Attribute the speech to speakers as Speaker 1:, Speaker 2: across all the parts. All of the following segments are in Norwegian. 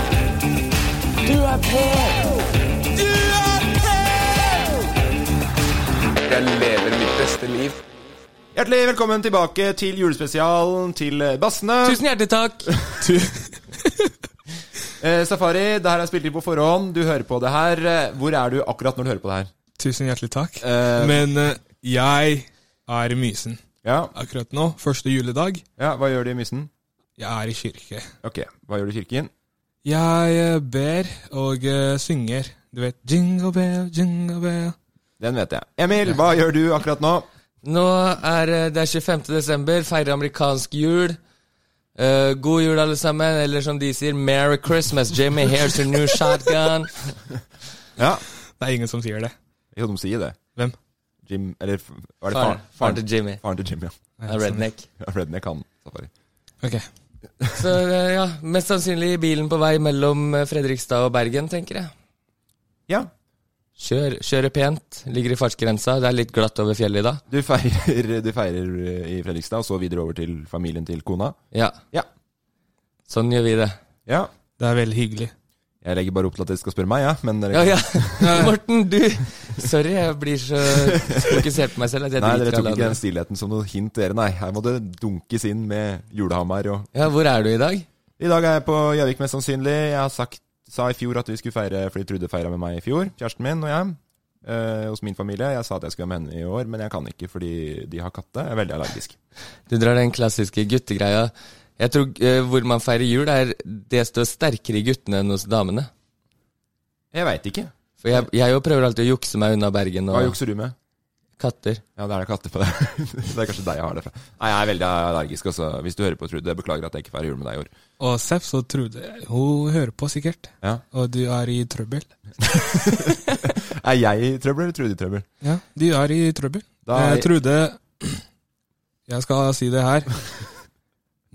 Speaker 1: Du er på! Du er på!
Speaker 2: Jeg lever mitt beste liv.
Speaker 3: Hjertelig velkommen tilbake til julespesialen til eh, Bassene.
Speaker 1: Tusen hjertelig takk. Tu
Speaker 3: Eh, Safari, det her er spilt inn på forhånd. Du hører på det her. Eh, Hvor er du akkurat når du hører på det her?
Speaker 1: Tusen hjertelig takk.
Speaker 3: Eh,
Speaker 1: Men eh, jeg er i Mysen
Speaker 3: Ja,
Speaker 1: akkurat nå. Første juledag.
Speaker 3: ja Hva gjør du i Mysen?
Speaker 1: Jeg er i kirke.
Speaker 3: Ok, hva gjør du i kirken?
Speaker 1: Jeg eh, ber og eh, synger. Du vet Jingle bell, jingle bell.
Speaker 3: Den vet jeg. Emil, hva gjør du akkurat nå?
Speaker 4: Nå er eh, det er 25. desember, feirer amerikansk jul. Eh, god jul, alle sammen. Eller som de sier, Merry Christmas. Jamie, here's your new shotgun.
Speaker 3: Ja,
Speaker 1: Det er ingen som sier det.
Speaker 3: Jo, de sier det.
Speaker 1: Hvem?
Speaker 3: Jim Eller f- var det
Speaker 4: Faren-
Speaker 3: faren?
Speaker 4: faren til Jimmy.
Speaker 3: Faren til Jim, ja. sånn.
Speaker 4: Ja, Redneck.
Speaker 3: ja Redneck, han. Safari.
Speaker 1: Ok.
Speaker 4: Så eh, ja, mest sannsynlig i bilen på vei mellom eh, Fredrikstad og Bergen, tenker jeg.
Speaker 3: Ja,
Speaker 4: Kjør, kjøre pent. Ligger i fartsgrensa. Det er litt glatt over fjellet i dag.
Speaker 3: du feirer, du feirer eh, i Fredrikstad, og så videre over til familien til kona.
Speaker 4: Ja,
Speaker 3: Ja.
Speaker 4: sånn gjør vi det.
Speaker 3: Ja.
Speaker 1: Det er veldig hyggelig.
Speaker 3: Jeg legger bare opp til at dere skal spørre meg, ja. Men dere
Speaker 4: Ja, ja. Morten, du Sorry, jeg blir så fokusert på meg selv at jeg
Speaker 3: Nei, dere
Speaker 4: driter
Speaker 3: tok
Speaker 4: i alle
Speaker 3: ikke den
Speaker 4: andre.
Speaker 3: stillheten som noe hint, dere. Nei, her må det dunkes inn med julehammer og
Speaker 4: Ja, hvor er du i dag?
Speaker 3: I dag er jeg på Gjøvik, mest sannsynlig. Jeg har sagt, sa i fjor at vi skulle feire fordi Trude feira med meg i fjor, kjæresten min og jeg. eh, hos min familie. Jeg sa at jeg skulle være med henne i år, men jeg kan ikke fordi de har katte. Jeg er veldig allergisk.
Speaker 4: Du drar den klassiske guttegreia. Jeg tror eh, hvor man feirer jul, er det står sterkere i guttene enn hos damene.
Speaker 3: Jeg veit ikke.
Speaker 4: For jeg, jeg jo prøver alltid å jukse meg unna Bergen
Speaker 3: Hva
Speaker 4: og
Speaker 3: jukser du med?
Speaker 4: katter.
Speaker 3: Ja, det er da katter på deg. det er kanskje deg jeg har det fra. Nei, jeg er veldig allergisk, altså. Hvis du hører på, Trude. Jeg beklager at jeg ikke feirer jul med deg i år.
Speaker 1: Og Seff så trodde Hun hører på, sikkert.
Speaker 3: Ja.
Speaker 1: Og du er i trøbbel.
Speaker 3: Er jeg i trøbbel eller Trude i trøbbel?
Speaker 1: Ja, du er i trøbbel.
Speaker 3: Da er-
Speaker 1: Eh, Jeg trodde Jeg skal si det her.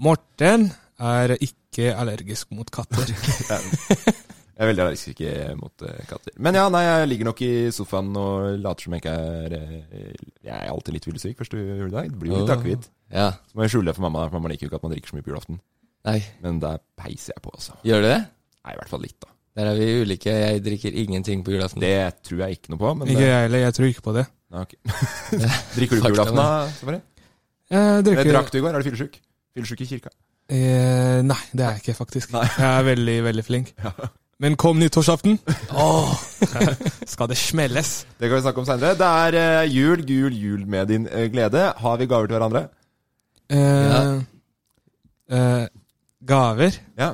Speaker 1: Morten er ikke allergisk mot katter.
Speaker 3: Jeg er veldig allergisk ikke mot eh, katter. Men ja, nei, jeg ligger nok i sofaen og later som jeg ikke er eh, Jeg er alltid litt fyllesyk første juledag. Det blir jo litt
Speaker 4: Åh.
Speaker 3: akevitt.
Speaker 4: Ja.
Speaker 3: Så må jeg skjule det for mamma, for mamma liker jo ikke at man drikker så mye på julaften.
Speaker 4: Nei,
Speaker 3: Men der peiser jeg på, altså.
Speaker 4: gjør du det?
Speaker 3: Nei, i hvert fall litt, da.
Speaker 4: Der er vi ulike. Jeg drikker ingenting på julaften.
Speaker 3: Det tror jeg ikke noe på, men
Speaker 1: Ikke
Speaker 3: det,
Speaker 1: jeg heller, jeg tror ikke på det.
Speaker 3: Nei, ok. Drikker du ikke på
Speaker 4: Fakta,
Speaker 3: julaften, da? Safari?
Speaker 1: Jeg
Speaker 3: Det
Speaker 1: drikker
Speaker 3: drakk du i går. Er du fyllesyk? Fyllesyk i kirka?
Speaker 1: eh, Nei, det er jeg ikke, faktisk. Jeg er veldig, veldig flink. Men kom nyttårsaften, Åh, skal det smelles!
Speaker 3: Det kan vi snakke om seinere. Det er eh, jul, gul jul med din eh, glede. Har vi gaver til hverandre?
Speaker 1: Eh, eh, gaver.
Speaker 3: Ja.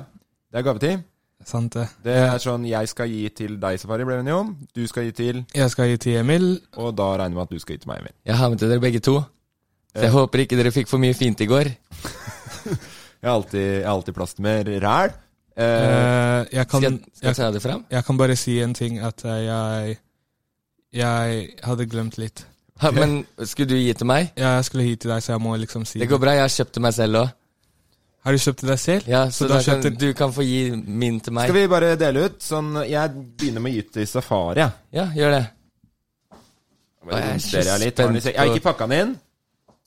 Speaker 3: Det er gavetid.
Speaker 1: Sant det.
Speaker 3: Det er sånn jeg skal gi til deg, Safari, ble vi enige om. Du skal gi til
Speaker 1: Jeg skal gi til Emil.
Speaker 3: Og da regner vi med at du skal hit til meg, Emil.
Speaker 4: Jeg har med til dere begge to. Så jeg håper ikke dere fikk for mye fint i går.
Speaker 3: Jeg har alltid, jeg har alltid plass til mer ræl. Eh,
Speaker 1: Eh, jeg kan
Speaker 4: Skal jeg, skal
Speaker 1: jeg,
Speaker 4: jeg ta det fram?
Speaker 1: jeg kan bare si en ting, at eh, jeg Jeg hadde glemt litt.
Speaker 4: Ha, Men skulle du gi til meg?
Speaker 1: Ja, jeg skulle hit til deg, så jeg må liksom si
Speaker 4: Det går bra, jeg har kjøpt til meg selv òg.
Speaker 1: Har du kjøpt til deg selv?
Speaker 4: Ja, så,
Speaker 1: du
Speaker 4: da
Speaker 1: har kjøpt
Speaker 4: kan,
Speaker 1: til
Speaker 4: du kan få gi min til meg.
Speaker 3: Skal vi bare dele ut? Sånn, jeg begynner med å gi til Safari. jeg.
Speaker 4: Ja, gjør det.
Speaker 3: Bare
Speaker 4: jeg er så
Speaker 3: rotere litt, tar den i
Speaker 4: spent
Speaker 3: seg- Jeg har
Speaker 4: på-
Speaker 3: ikke pakka den inn.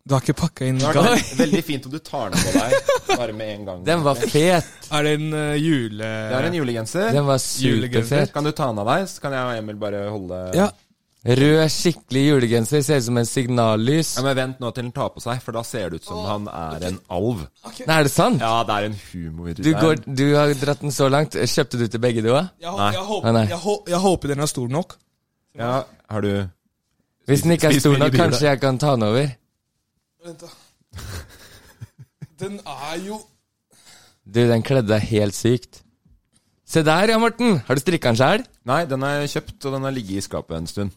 Speaker 1: Du har ikke pakka inn
Speaker 3: Det har
Speaker 1: gaven?
Speaker 3: vært veldig fint om du tar den på deg bare med en gang.
Speaker 4: Den var fet.
Speaker 1: Er det en eh, jule...
Speaker 3: Det er en julegenser.
Speaker 4: Den var
Speaker 1: Julegenser.
Speaker 4: superfet.
Speaker 3: Kan du ta den av deg, så kan jeg og Emil bare holde
Speaker 1: Ja.
Speaker 4: Rød, skikkelig julegenser. Ser ut som en signallys.
Speaker 3: Ja, Men vent nå til den tar på seg, for da ser det ut som han er en alv.
Speaker 4: Nei, er det sant?
Speaker 3: Ja, det er en humor i
Speaker 4: Du,
Speaker 3: den.
Speaker 4: går, du har dratt den så langt. Kjøpte du til begge, du òg?
Speaker 1: Jeg,
Speaker 3: Nei.
Speaker 1: hå- jeg,
Speaker 4: Nei,
Speaker 1: håper,
Speaker 4: nei.
Speaker 1: jeg, hå- jeg håper den er stor nok.
Speaker 3: Ja, har du
Speaker 4: Hvis den ikke er
Speaker 3: Spis
Speaker 4: stor nok,
Speaker 3: minidyr, da.
Speaker 4: kanskje jeg kan ta den over.
Speaker 1: Vent, da. Den er jo
Speaker 4: Du, den kledde deg helt sykt. Se der, ja, Morten. Har du strikka den sjæl?
Speaker 3: Nei, den er kjøpt, og den har ligget i skapet en stund.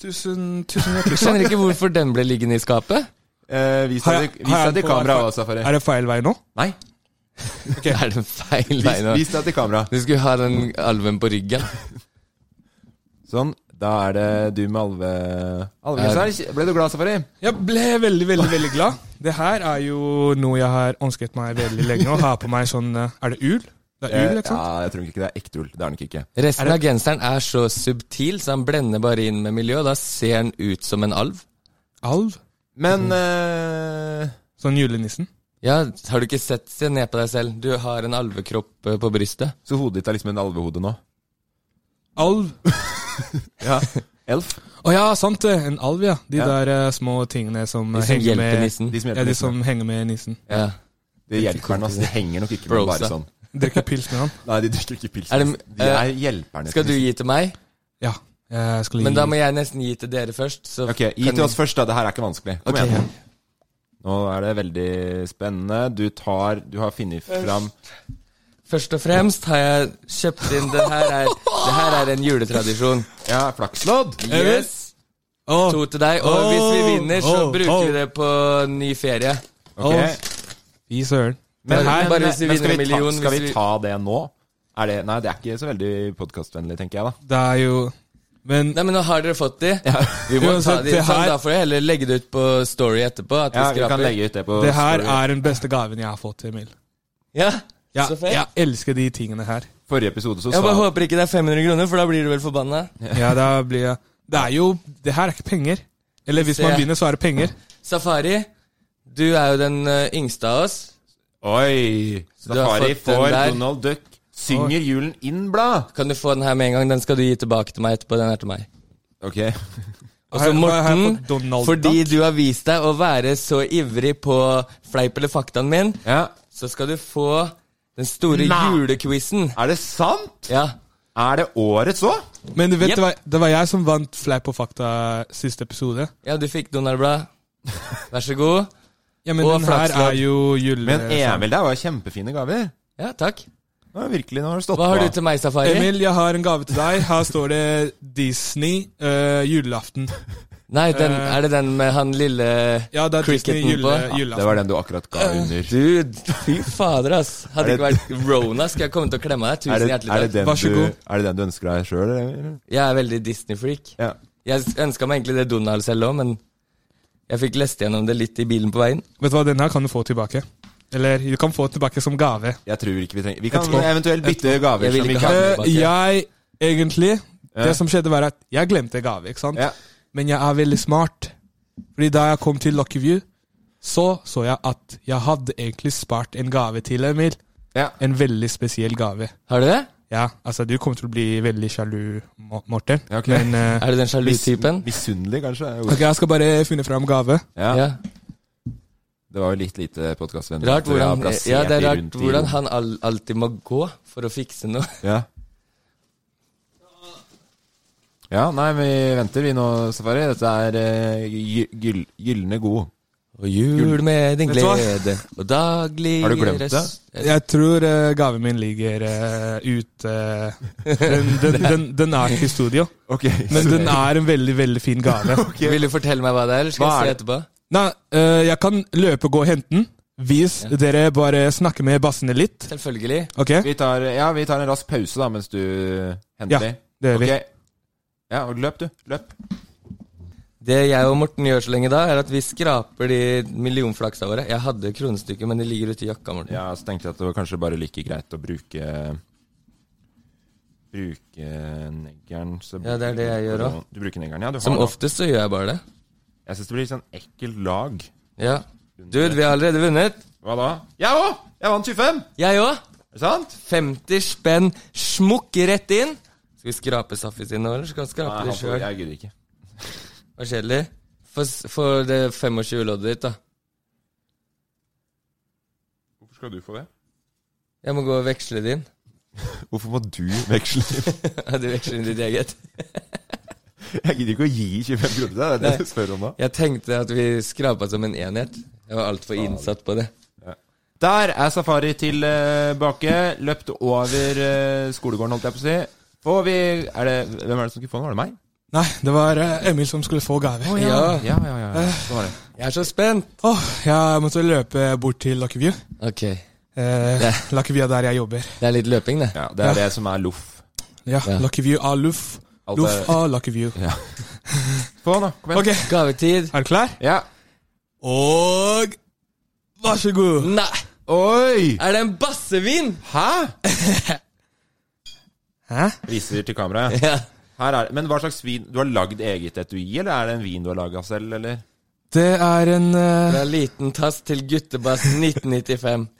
Speaker 1: Tusen, tusen hjertelig
Speaker 4: Du skjønner ikke hvorfor den ble liggende i skapet?
Speaker 3: Eh, vis
Speaker 1: Har
Speaker 3: deg
Speaker 1: jeg-
Speaker 3: til- vis
Speaker 1: har jeg
Speaker 3: deg til
Speaker 1: på-
Speaker 3: kamera også, Safari.
Speaker 1: Er det feil vei nå?
Speaker 3: Nei,
Speaker 4: Er det feil vei
Speaker 3: vis,
Speaker 4: nå?
Speaker 3: vis deg til kamera.
Speaker 4: Du skulle ha den alven på ryggen.
Speaker 3: Sånn. Da er det du med alve... Alvegenser. Ble du glad, Safari?
Speaker 1: Jeg ble veldig, veldig veldig glad. Det her er jo noe jeg har ønsket meg veldig lenge. Å ha på meg sånn eh, Er det ul? Det liksom. er ul,
Speaker 3: Eh,
Speaker 1: ikke sant?
Speaker 3: Ja, jeg tror ikke det er ekte ull. Det er nok ikke.
Speaker 4: Resten av genseren er så subtil, så han blender bare inn med miljø. og Da ser han ut som en alv.
Speaker 1: Alv?
Speaker 3: Men eh,
Speaker 1: Sånn julenissen?
Speaker 4: Ja, har du ikke sett Se ned på deg selv. Du har en alvekropp eh, på brystet.
Speaker 3: Så hodet ditt er liksom en alvehode nå?
Speaker 1: Alv?
Speaker 3: Ja. Elf?
Speaker 1: Å ja, sant det. En alv, ja. De
Speaker 3: Ja.
Speaker 1: der eh, små tingene som,
Speaker 4: De
Speaker 1: eh,
Speaker 4: som
Speaker 1: henger
Speaker 4: hjelper
Speaker 1: med
Speaker 4: nissen.
Speaker 3: De som
Speaker 1: Ja,
Speaker 3: hjelper.
Speaker 1: de
Speaker 3: nissen.
Speaker 1: som henger med nissen.
Speaker 4: Ja.
Speaker 3: Det hjelper den, altså. De henger nok ikke med
Speaker 4: Brosa.
Speaker 3: bare sånn.
Speaker 1: Drikker pils med han.
Speaker 3: Nei, de drikker ikke pils.
Speaker 4: Er det-
Speaker 3: nissen. de
Speaker 4: eh,
Speaker 3: er hjelperne.
Speaker 4: Skal du
Speaker 3: nissen.
Speaker 4: gi til meg?
Speaker 1: Ja. Jeg skulle
Speaker 4: Men
Speaker 1: gi
Speaker 4: da må jeg nesten gi til dere først. Så
Speaker 3: Ok, gi
Speaker 4: kan
Speaker 3: til
Speaker 4: vi-
Speaker 3: oss først, da. Det her er ikke vanskelig. Kom
Speaker 4: Ok.
Speaker 3: igjen. Nå er det veldig spennende. Du tar Du har funnet fram
Speaker 4: Først og fremst har jeg kjøpt inn Det her er, det her er en juletradisjon.
Speaker 3: Ja, flakslodd.
Speaker 4: Yes!
Speaker 1: Å,
Speaker 4: To til deg. Og hvis vi vinner, så
Speaker 1: Åh,
Speaker 4: bruker
Speaker 1: åh.
Speaker 4: vi det på ny ferie.
Speaker 3: Ok.
Speaker 1: Å, fy søren.
Speaker 3: Men,
Speaker 4: Bare-
Speaker 3: her,
Speaker 4: bare
Speaker 3: men
Speaker 4: hvis vi
Speaker 3: skal,
Speaker 4: vinner en
Speaker 3: vi ta,
Speaker 4: million,
Speaker 3: skal
Speaker 4: hvis
Speaker 3: vi
Speaker 4: vi-
Speaker 3: ta det nå? Er det, nei, det er ikke så veldig podkastvennlig, tenker jeg, da.
Speaker 1: Det er jo Men
Speaker 4: Nei, men nå har dere fått de. Vi må ta
Speaker 1: Uansett,
Speaker 4: de.
Speaker 1: det
Speaker 4: Sånn,
Speaker 1: her-
Speaker 4: da får jeg heller legge det ut på Story etterpå. At vi
Speaker 3: Ja, Vi
Speaker 4: skraper.
Speaker 3: kan legge ut det på
Speaker 1: det her
Speaker 3: story.
Speaker 1: er den beste gaven jeg har fått, Emil.
Speaker 4: Ja,
Speaker 1: Ja,
Speaker 4: så fett.
Speaker 1: jeg elsker de tingene her.
Speaker 3: Forrige episode så
Speaker 4: Jeg
Speaker 3: sa
Speaker 4: bare håper ikke det er 500 kroner, for da blir du vel forbanna.
Speaker 1: Ja, da blir jeg Det er jo Det her er ikke penger. Eller hvis man
Speaker 4: Se.
Speaker 1: vinner, så er det penger.
Speaker 4: Safari, du er jo den ø, yngste av oss.
Speaker 3: Oi!
Speaker 4: du har
Speaker 3: Safari
Speaker 4: fått den
Speaker 3: får
Speaker 4: der.
Speaker 3: Donald Duck. Synger julen inn, blad!
Speaker 4: Kan du få den her med en gang? Den skal du gi tilbake til meg etterpå. Den er til meg.
Speaker 3: Ok.
Speaker 4: Og
Speaker 1: Har
Speaker 4: så
Speaker 1: jeg- har jeg
Speaker 4: Morten,
Speaker 1: fått Donald
Speaker 4: fordi
Speaker 1: Duck?
Speaker 4: du har vist deg å være så ivrig på fleip eller faktaen min,
Speaker 3: Ja.
Speaker 4: så skal du få den store
Speaker 3: Nei.
Speaker 4: julequizen.
Speaker 3: Er det sant?
Speaker 4: Ja.
Speaker 3: Er det årets òg?
Speaker 1: Men du vet,
Speaker 4: Jep.
Speaker 1: det, var, det var jeg som vant Fleip og fakta siste episode.
Speaker 4: ja, du fikk Donald Blad. Vær så god.
Speaker 1: Ja, men
Speaker 4: Og
Speaker 1: den her
Speaker 4: flakslodd.
Speaker 1: er jo jule...
Speaker 3: Men Emil, det var kjempefine gaver.
Speaker 4: Ja, takk.
Speaker 3: Ja, virkelig, nå har du stått
Speaker 4: Hva har
Speaker 3: på.
Speaker 4: du til meg, Safari?
Speaker 1: Emil, jeg har en gave til deg. Her står det Disney eh, julaften.
Speaker 4: Nei, den, er det den med han lille
Speaker 1: Eh. Ja, det er
Speaker 4: cricketen
Speaker 1: Disney jule,
Speaker 4: på?
Speaker 3: Det var
Speaker 1: julaften.
Speaker 3: den du akkurat ga
Speaker 4: Øh,
Speaker 3: under.
Speaker 4: Dude, fy fader, ass. Hadde
Speaker 3: Er
Speaker 4: ikke
Speaker 3: det-
Speaker 4: vært Rona, skulle jeg kommet til å klemme deg. Tusen
Speaker 3: Er det,
Speaker 4: hjertelig
Speaker 3: er, det
Speaker 4: takk.
Speaker 3: den
Speaker 1: Vær så
Speaker 3: du,
Speaker 1: god.
Speaker 3: er det den du ønsker deg sjøl?
Speaker 4: Jeg er veldig Disney-freak.
Speaker 3: Ja.
Speaker 4: Jeg ønska meg egentlig det Donald selv òg, men jeg fikk lest gjennom det litt i bilen på veien.
Speaker 1: Vet du hva, den her kan du få tilbake. Eller du kan få den tilbake som gave.
Speaker 3: Jeg tror ikke vi trenger Vi kan
Speaker 1: Etterpå.
Speaker 3: eventuelt bytte gaver.
Speaker 4: Jeg vil
Speaker 3: som vi
Speaker 4: ikke
Speaker 3: kan.
Speaker 4: ha-
Speaker 1: Eh,
Speaker 4: tilbake.
Speaker 1: jeg egentlig Det som skjedde, var at jeg glemte gave, ikke sant?
Speaker 3: Ja.
Speaker 1: Men jeg er veldig smart. Fordi da jeg kom til Lucky View, så så jeg at jeg hadde egentlig spart en gave til Emil.
Speaker 3: Ja.
Speaker 1: En veldig spesiell gave.
Speaker 4: Har du det?
Speaker 1: Ja, altså du kommer til å bli veldig sjalu, Mo- Morten.
Speaker 3: Ja, ok.
Speaker 1: Men eh,
Speaker 4: Er du den sjalu
Speaker 3: Mis-
Speaker 4: typen?
Speaker 3: Misunnelig, kanskje? er
Speaker 1: Ok,
Speaker 3: ordet.
Speaker 1: jeg skal bare finne fram gave.
Speaker 3: Ja.
Speaker 4: Ja.
Speaker 3: Det var jo litt lite podkastvennlig.
Speaker 4: Rart hvordan, ja, det er rart hvordan
Speaker 3: han
Speaker 4: han al alltid må gå for å fikse noe.
Speaker 3: ja. ja, nei, vi venter vi nå, Safari. Dette er eh, gy- gyll- gylne god.
Speaker 4: Og jul med din
Speaker 1: Vet du hva?
Speaker 4: glede og daglig
Speaker 3: Har du glemt det?
Speaker 4: rest-
Speaker 1: Jeg tror eh, gaven min ligger eh, ute den, den, den, den er ikke i studio,
Speaker 3: Ok,
Speaker 1: men den er en veldig, veldig fin gave.
Speaker 4: Vil du fortelle meg hva det er, eller skal
Speaker 3: Hva er
Speaker 4: jeg se
Speaker 3: det?
Speaker 4: etterpå?
Speaker 1: Nei, eh, jeg kan løpe, gå og hente den. Hvis dere bare snakker med bassene litt.
Speaker 4: Selvfølgelig.
Speaker 1: Ok?
Speaker 3: vi tar, ja, vi tar en rask pause da, mens du henter
Speaker 1: Ja,
Speaker 3: de.
Speaker 1: det gjør vi.
Speaker 3: Ok. Ja, og løp du. Løp.
Speaker 4: Det jeg og Morten gjør så lenge da, er at vi skraper de millionflaksa våre. Jeg hadde kronestykker, men de ligger ute i jakka, Morten.
Speaker 3: Ja, så tenkte jeg at det var kanskje bare like greit å bruke Bruke neggeren. så
Speaker 4: Ja, det er det jeg gjør også.
Speaker 3: Du bruker neggeren, ja. Du har
Speaker 4: Som
Speaker 3: det.
Speaker 4: oftest så gjør jeg bare det.
Speaker 3: Jeg syns det blir litt sånn ekkelt lag.
Speaker 4: Ja. Dude, vi har allerede vunnet.
Speaker 3: Hva da? Jeg òg! Jeg vant 25!
Speaker 4: Jeg òg.
Speaker 3: Er det sant?
Speaker 4: 50 spenn smukk rett inn. Skal vi skrape Safi sin nå, eller skal vi
Speaker 3: Nei,
Speaker 4: skrape
Speaker 3: han
Speaker 4: det
Speaker 3: får-
Speaker 4: sjøl?
Speaker 3: jeg gidder ikke.
Speaker 4: Hva kjedelig. Få s- Få det 25-loddet ditt, da.
Speaker 3: Hvorfor skal du få det?
Speaker 4: Jeg må gå og veksle din.
Speaker 3: Hvorfor må du veksle?
Speaker 4: Ja, du veksler inn ditt eget.
Speaker 3: Jeg gidder ikke å gi 25 kroner til deg, det er det du spør om da.
Speaker 4: Jeg tenkte at vi skrapa som en enhet. Jeg var altfor innsatt på det.
Speaker 3: Der er Safari tilbake. Løpt over eh, skolegården, holdt jeg på å si. Får vi er det, Hvem er det som skulle få den? Var det meg?
Speaker 1: Nei, det var eh, Emil som skulle få gave. Åh,
Speaker 4: Ja,
Speaker 3: Ja, ja, ja. ja. Så var det.
Speaker 4: jeg er så spent.
Speaker 1: jeg måtte løpe bort til Lucky View.
Speaker 4: Ok, det
Speaker 1: Eh,
Speaker 4: Ja.
Speaker 1: Lucky View er der jeg jobber.
Speaker 4: er litt løping, det.
Speaker 3: ja det er det som er loff.
Speaker 1: Ja,
Speaker 4: Ja.
Speaker 1: Lucky View av Luff.
Speaker 3: Alt
Speaker 1: Luff
Speaker 3: er-
Speaker 1: av Lucky View.
Speaker 3: Få den, da. Kom igjen.
Speaker 1: Ok,
Speaker 4: Gavetid.
Speaker 1: er du klar?
Speaker 3: Ja.
Speaker 1: Og vær så god.
Speaker 4: Nei!
Speaker 3: Oi!
Speaker 4: Er det en bassevin?
Speaker 3: Hæ?
Speaker 1: Hæ?
Speaker 3: Viser til kameraet.
Speaker 4: Ja.
Speaker 3: Her er det. Men hva slags vin Du har lagd eget etui, eller er det en vin du har laga selv, eller?
Speaker 1: Det er en eh,
Speaker 4: Fra liten tass til guttebass 1995.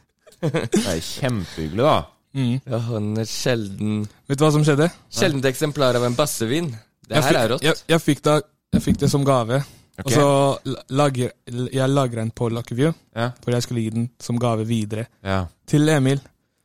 Speaker 3: Det er kjempehyggelig, da.
Speaker 4: Ja, han er sjelden
Speaker 1: Vet du hva som skjedde?
Speaker 4: Sjeldent eksemplar av en bassevin. Det
Speaker 1: Jeg
Speaker 4: her
Speaker 1: fikk-
Speaker 4: er rått.
Speaker 1: Jeg, jeg, fikk da, jeg fikk det som gave.
Speaker 3: Ok.
Speaker 1: Og så la- lager, jeg lager en på Lucky View,
Speaker 3: Ja.
Speaker 1: for jeg skulle gi den som gave videre
Speaker 3: ja.
Speaker 1: til Emil.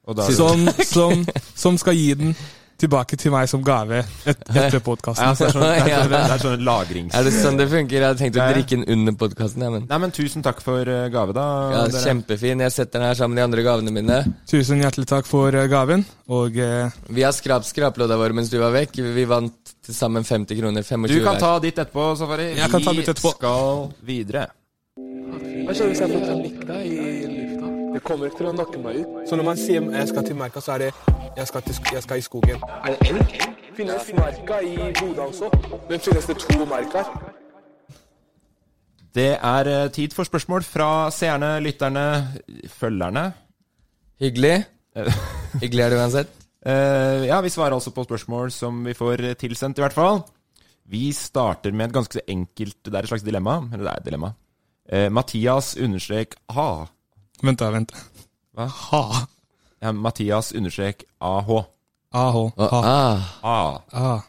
Speaker 3: Og da
Speaker 1: Som, som, som skal gi den tilbake til meg som gave et, etter
Speaker 3: ja, så
Speaker 1: podkasten.
Speaker 3: det, er sånn, det, er sånn, det er sånn
Speaker 4: Er
Speaker 3: lagrings...
Speaker 4: det sånn det funker? Jeg hadde tenkt å
Speaker 3: Ja, ja.
Speaker 4: drikke den under podkasten, jeg, men
Speaker 3: Nei, men tusen takk for eh, gave, da.
Speaker 4: ja,
Speaker 3: dere.
Speaker 4: Kjempefin. Jeg setter den her sammen med de andre gavene mine.
Speaker 1: Tusen hjertelig takk for eh, gaven. Og eh,
Speaker 4: Vi har skrapt skraplodda våre mens du var vekk. Vi vant til sammen 50 kroner. 25
Speaker 3: Du kan
Speaker 4: hver.
Speaker 3: ta ditt etterpå, Safari.
Speaker 1: Jeg kan ta mitt etterpå.
Speaker 3: Vi skal videre.
Speaker 1: Så når man sier jeg skal til merka, så er det jeg skal, i skogen.
Speaker 3: Det er eh, tid for spørsmål fra seerne, lytterne, følgerne.
Speaker 4: Hyggelig. Hyggelig er det uansett.
Speaker 3: Eh, ja, vi svarer altså på spørsmål som vi får eh, tilsendt, i hvert fall. Vi starter med et ganske så enkelt Det er et slags dilemma. Eller det er et dilemma. Eh, Mathias understrek A.
Speaker 1: Vent, da. vent.
Speaker 3: Hva?
Speaker 1: Ha.
Speaker 3: Ja, Mathias understrek AH.
Speaker 1: AH.
Speaker 4: Og,
Speaker 1: Ha.
Speaker 4: ah,
Speaker 3: A.
Speaker 1: Ah.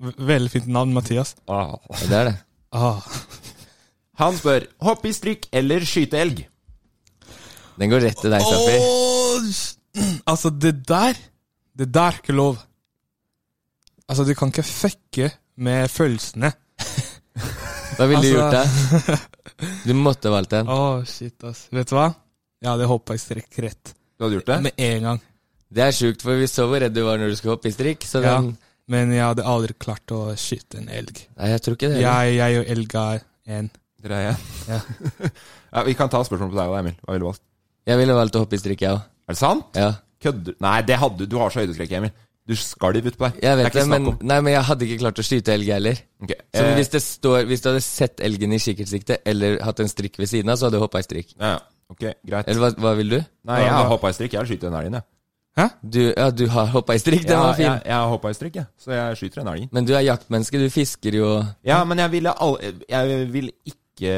Speaker 1: V- Veldig fint navn, Mathias.
Speaker 3: A.
Speaker 4: det er det.
Speaker 1: Ah.
Speaker 3: Han spør hoppe i strikk eller skyte elg.
Speaker 4: Den går rett til deg, Safi.
Speaker 1: Altså, det der Det der er ikke lov. Altså, du kan ikke fucke med følelsene.
Speaker 4: Hva ville du gjort
Speaker 1: Altså-
Speaker 4: da? Du måtte valgt den.
Speaker 1: Å, shit, ass. Vet du hva? Jeg hadde hoppa i strekk rett
Speaker 3: Du hadde gjort det?
Speaker 1: med en gang.
Speaker 4: Det er sjukt, for vi så hvor redd du var når du skulle hoppe i strikk. Så
Speaker 1: Ja.
Speaker 4: den
Speaker 1: Men jeg hadde aldri klart å skyte en elg.
Speaker 4: Nei, jeg tror ikke det.
Speaker 1: Jeg, jeg og elga er en.
Speaker 3: Dere er igjen. ja, vi kan ta spørsmål på deg òg, Emil. Hva ville du valgt?
Speaker 4: Jeg ville valgt å hoppe i strikk, jeg òg.
Speaker 3: Er det sant?
Speaker 4: Ja.
Speaker 3: Kødder Nei, det hadde du. Du har så høydeskrekk, Emil. Du skalv utpå deg.
Speaker 4: Jeg vet
Speaker 3: er
Speaker 4: det,
Speaker 3: ikke
Speaker 4: men,
Speaker 3: snakk om.
Speaker 4: nei, men jeg hadde ikke klart å skyte elg heller.
Speaker 3: Ok,
Speaker 4: Så
Speaker 3: eh,
Speaker 4: hvis, det står, hvis du hadde sett elgen i kikkertsikte eller hatt en strikk ved siden av, så hadde du hoppa i strikk.
Speaker 3: ja, ja. Ok, greit.
Speaker 4: Eller hva, hva vil du?
Speaker 3: Nei, jeg har hoppa i strikk. Jeg har skutt en elg, jeg.
Speaker 4: Du, ja, du har hoppa i strikk, den
Speaker 3: Ja,
Speaker 4: var fin.
Speaker 3: Jeg, jeg har hoppa i strikk, jeg. Så jeg skyter en elg.
Speaker 4: Men du er jaktmenneske, du fisker jo
Speaker 3: Ja, men jeg ville al Jeg vil ikke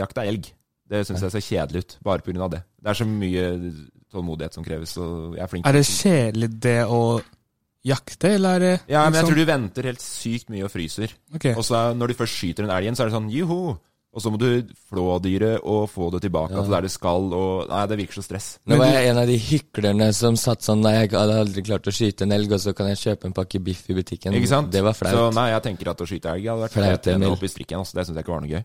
Speaker 3: jakte elg. Det syns jeg ser kjedelig ut, bare pga. det. Det er så mye tålmodighet som kreves, og jeg er flink.
Speaker 1: Er det kjedelig det å jakte, eller er det liksom-
Speaker 3: Ja, men jeg tror du venter helt sykt mye og fryser.
Speaker 1: Ok.
Speaker 3: Og så er- når du først skyter den elgen, så er det sånn joho! Og så må du flå dyret og få det tilbake til der det skal, og Nei, det virker så stress.
Speaker 4: Nå var jeg en av de hyklerne som satt sånn Nei, jeg hadde aldri klart å skyte en elg, og så kan jeg kjøpe en pakke biff i butikken.
Speaker 3: Ikke sant?
Speaker 4: Det var
Speaker 3: Så
Speaker 4: flaut.
Speaker 3: nei, jeg tenker at å skyte elg hadde vært
Speaker 4: Flaut,
Speaker 3: flaut enn
Speaker 4: Emil.
Speaker 3: å hoppe i strikken. Altså. Det syns jeg ikke var noe gøy.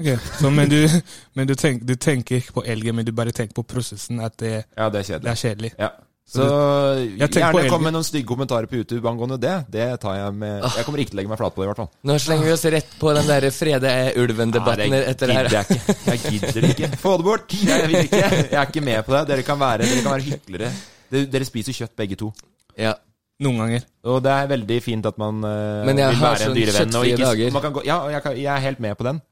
Speaker 1: Ok, så, men du, men du, tenk, du tenker ikke på elgen, men du bare tenker på prosessen, at det,
Speaker 3: Ja, det er kjedelig.
Speaker 1: det er kjedelig.
Speaker 3: Ja. Så
Speaker 1: Jeg tenker på
Speaker 3: gjerne kom
Speaker 1: elgen.
Speaker 3: med noen stygge kommentarer på YouTube angående det. Det tar Jeg med Jeg kommer ikke til å legge meg flat på det, i hvert fall.
Speaker 4: Nå slenger vi oss rett på den derre frede ulven-debatten
Speaker 3: Nei,
Speaker 4: etter det her.
Speaker 3: gidder jeg ikke. Jeg gidder ikke. Få det bort! Jeg vil ikke. Jeg er ikke med på det. Dere kan være, dere kan være hyklere. Dere, dere spiser kjøtt, begge to.
Speaker 4: Ja.
Speaker 1: Noen ganger.
Speaker 3: Og det er veldig fint at man eh,
Speaker 4: Men jeg
Speaker 3: vil
Speaker 4: har
Speaker 3: være en
Speaker 4: sånn
Speaker 3: dyrevenn. og
Speaker 4: kjøttfrie
Speaker 3: ikke-
Speaker 4: dager.
Speaker 3: Man kan gå, ja, og jeg, kan, jeg er helt med på den.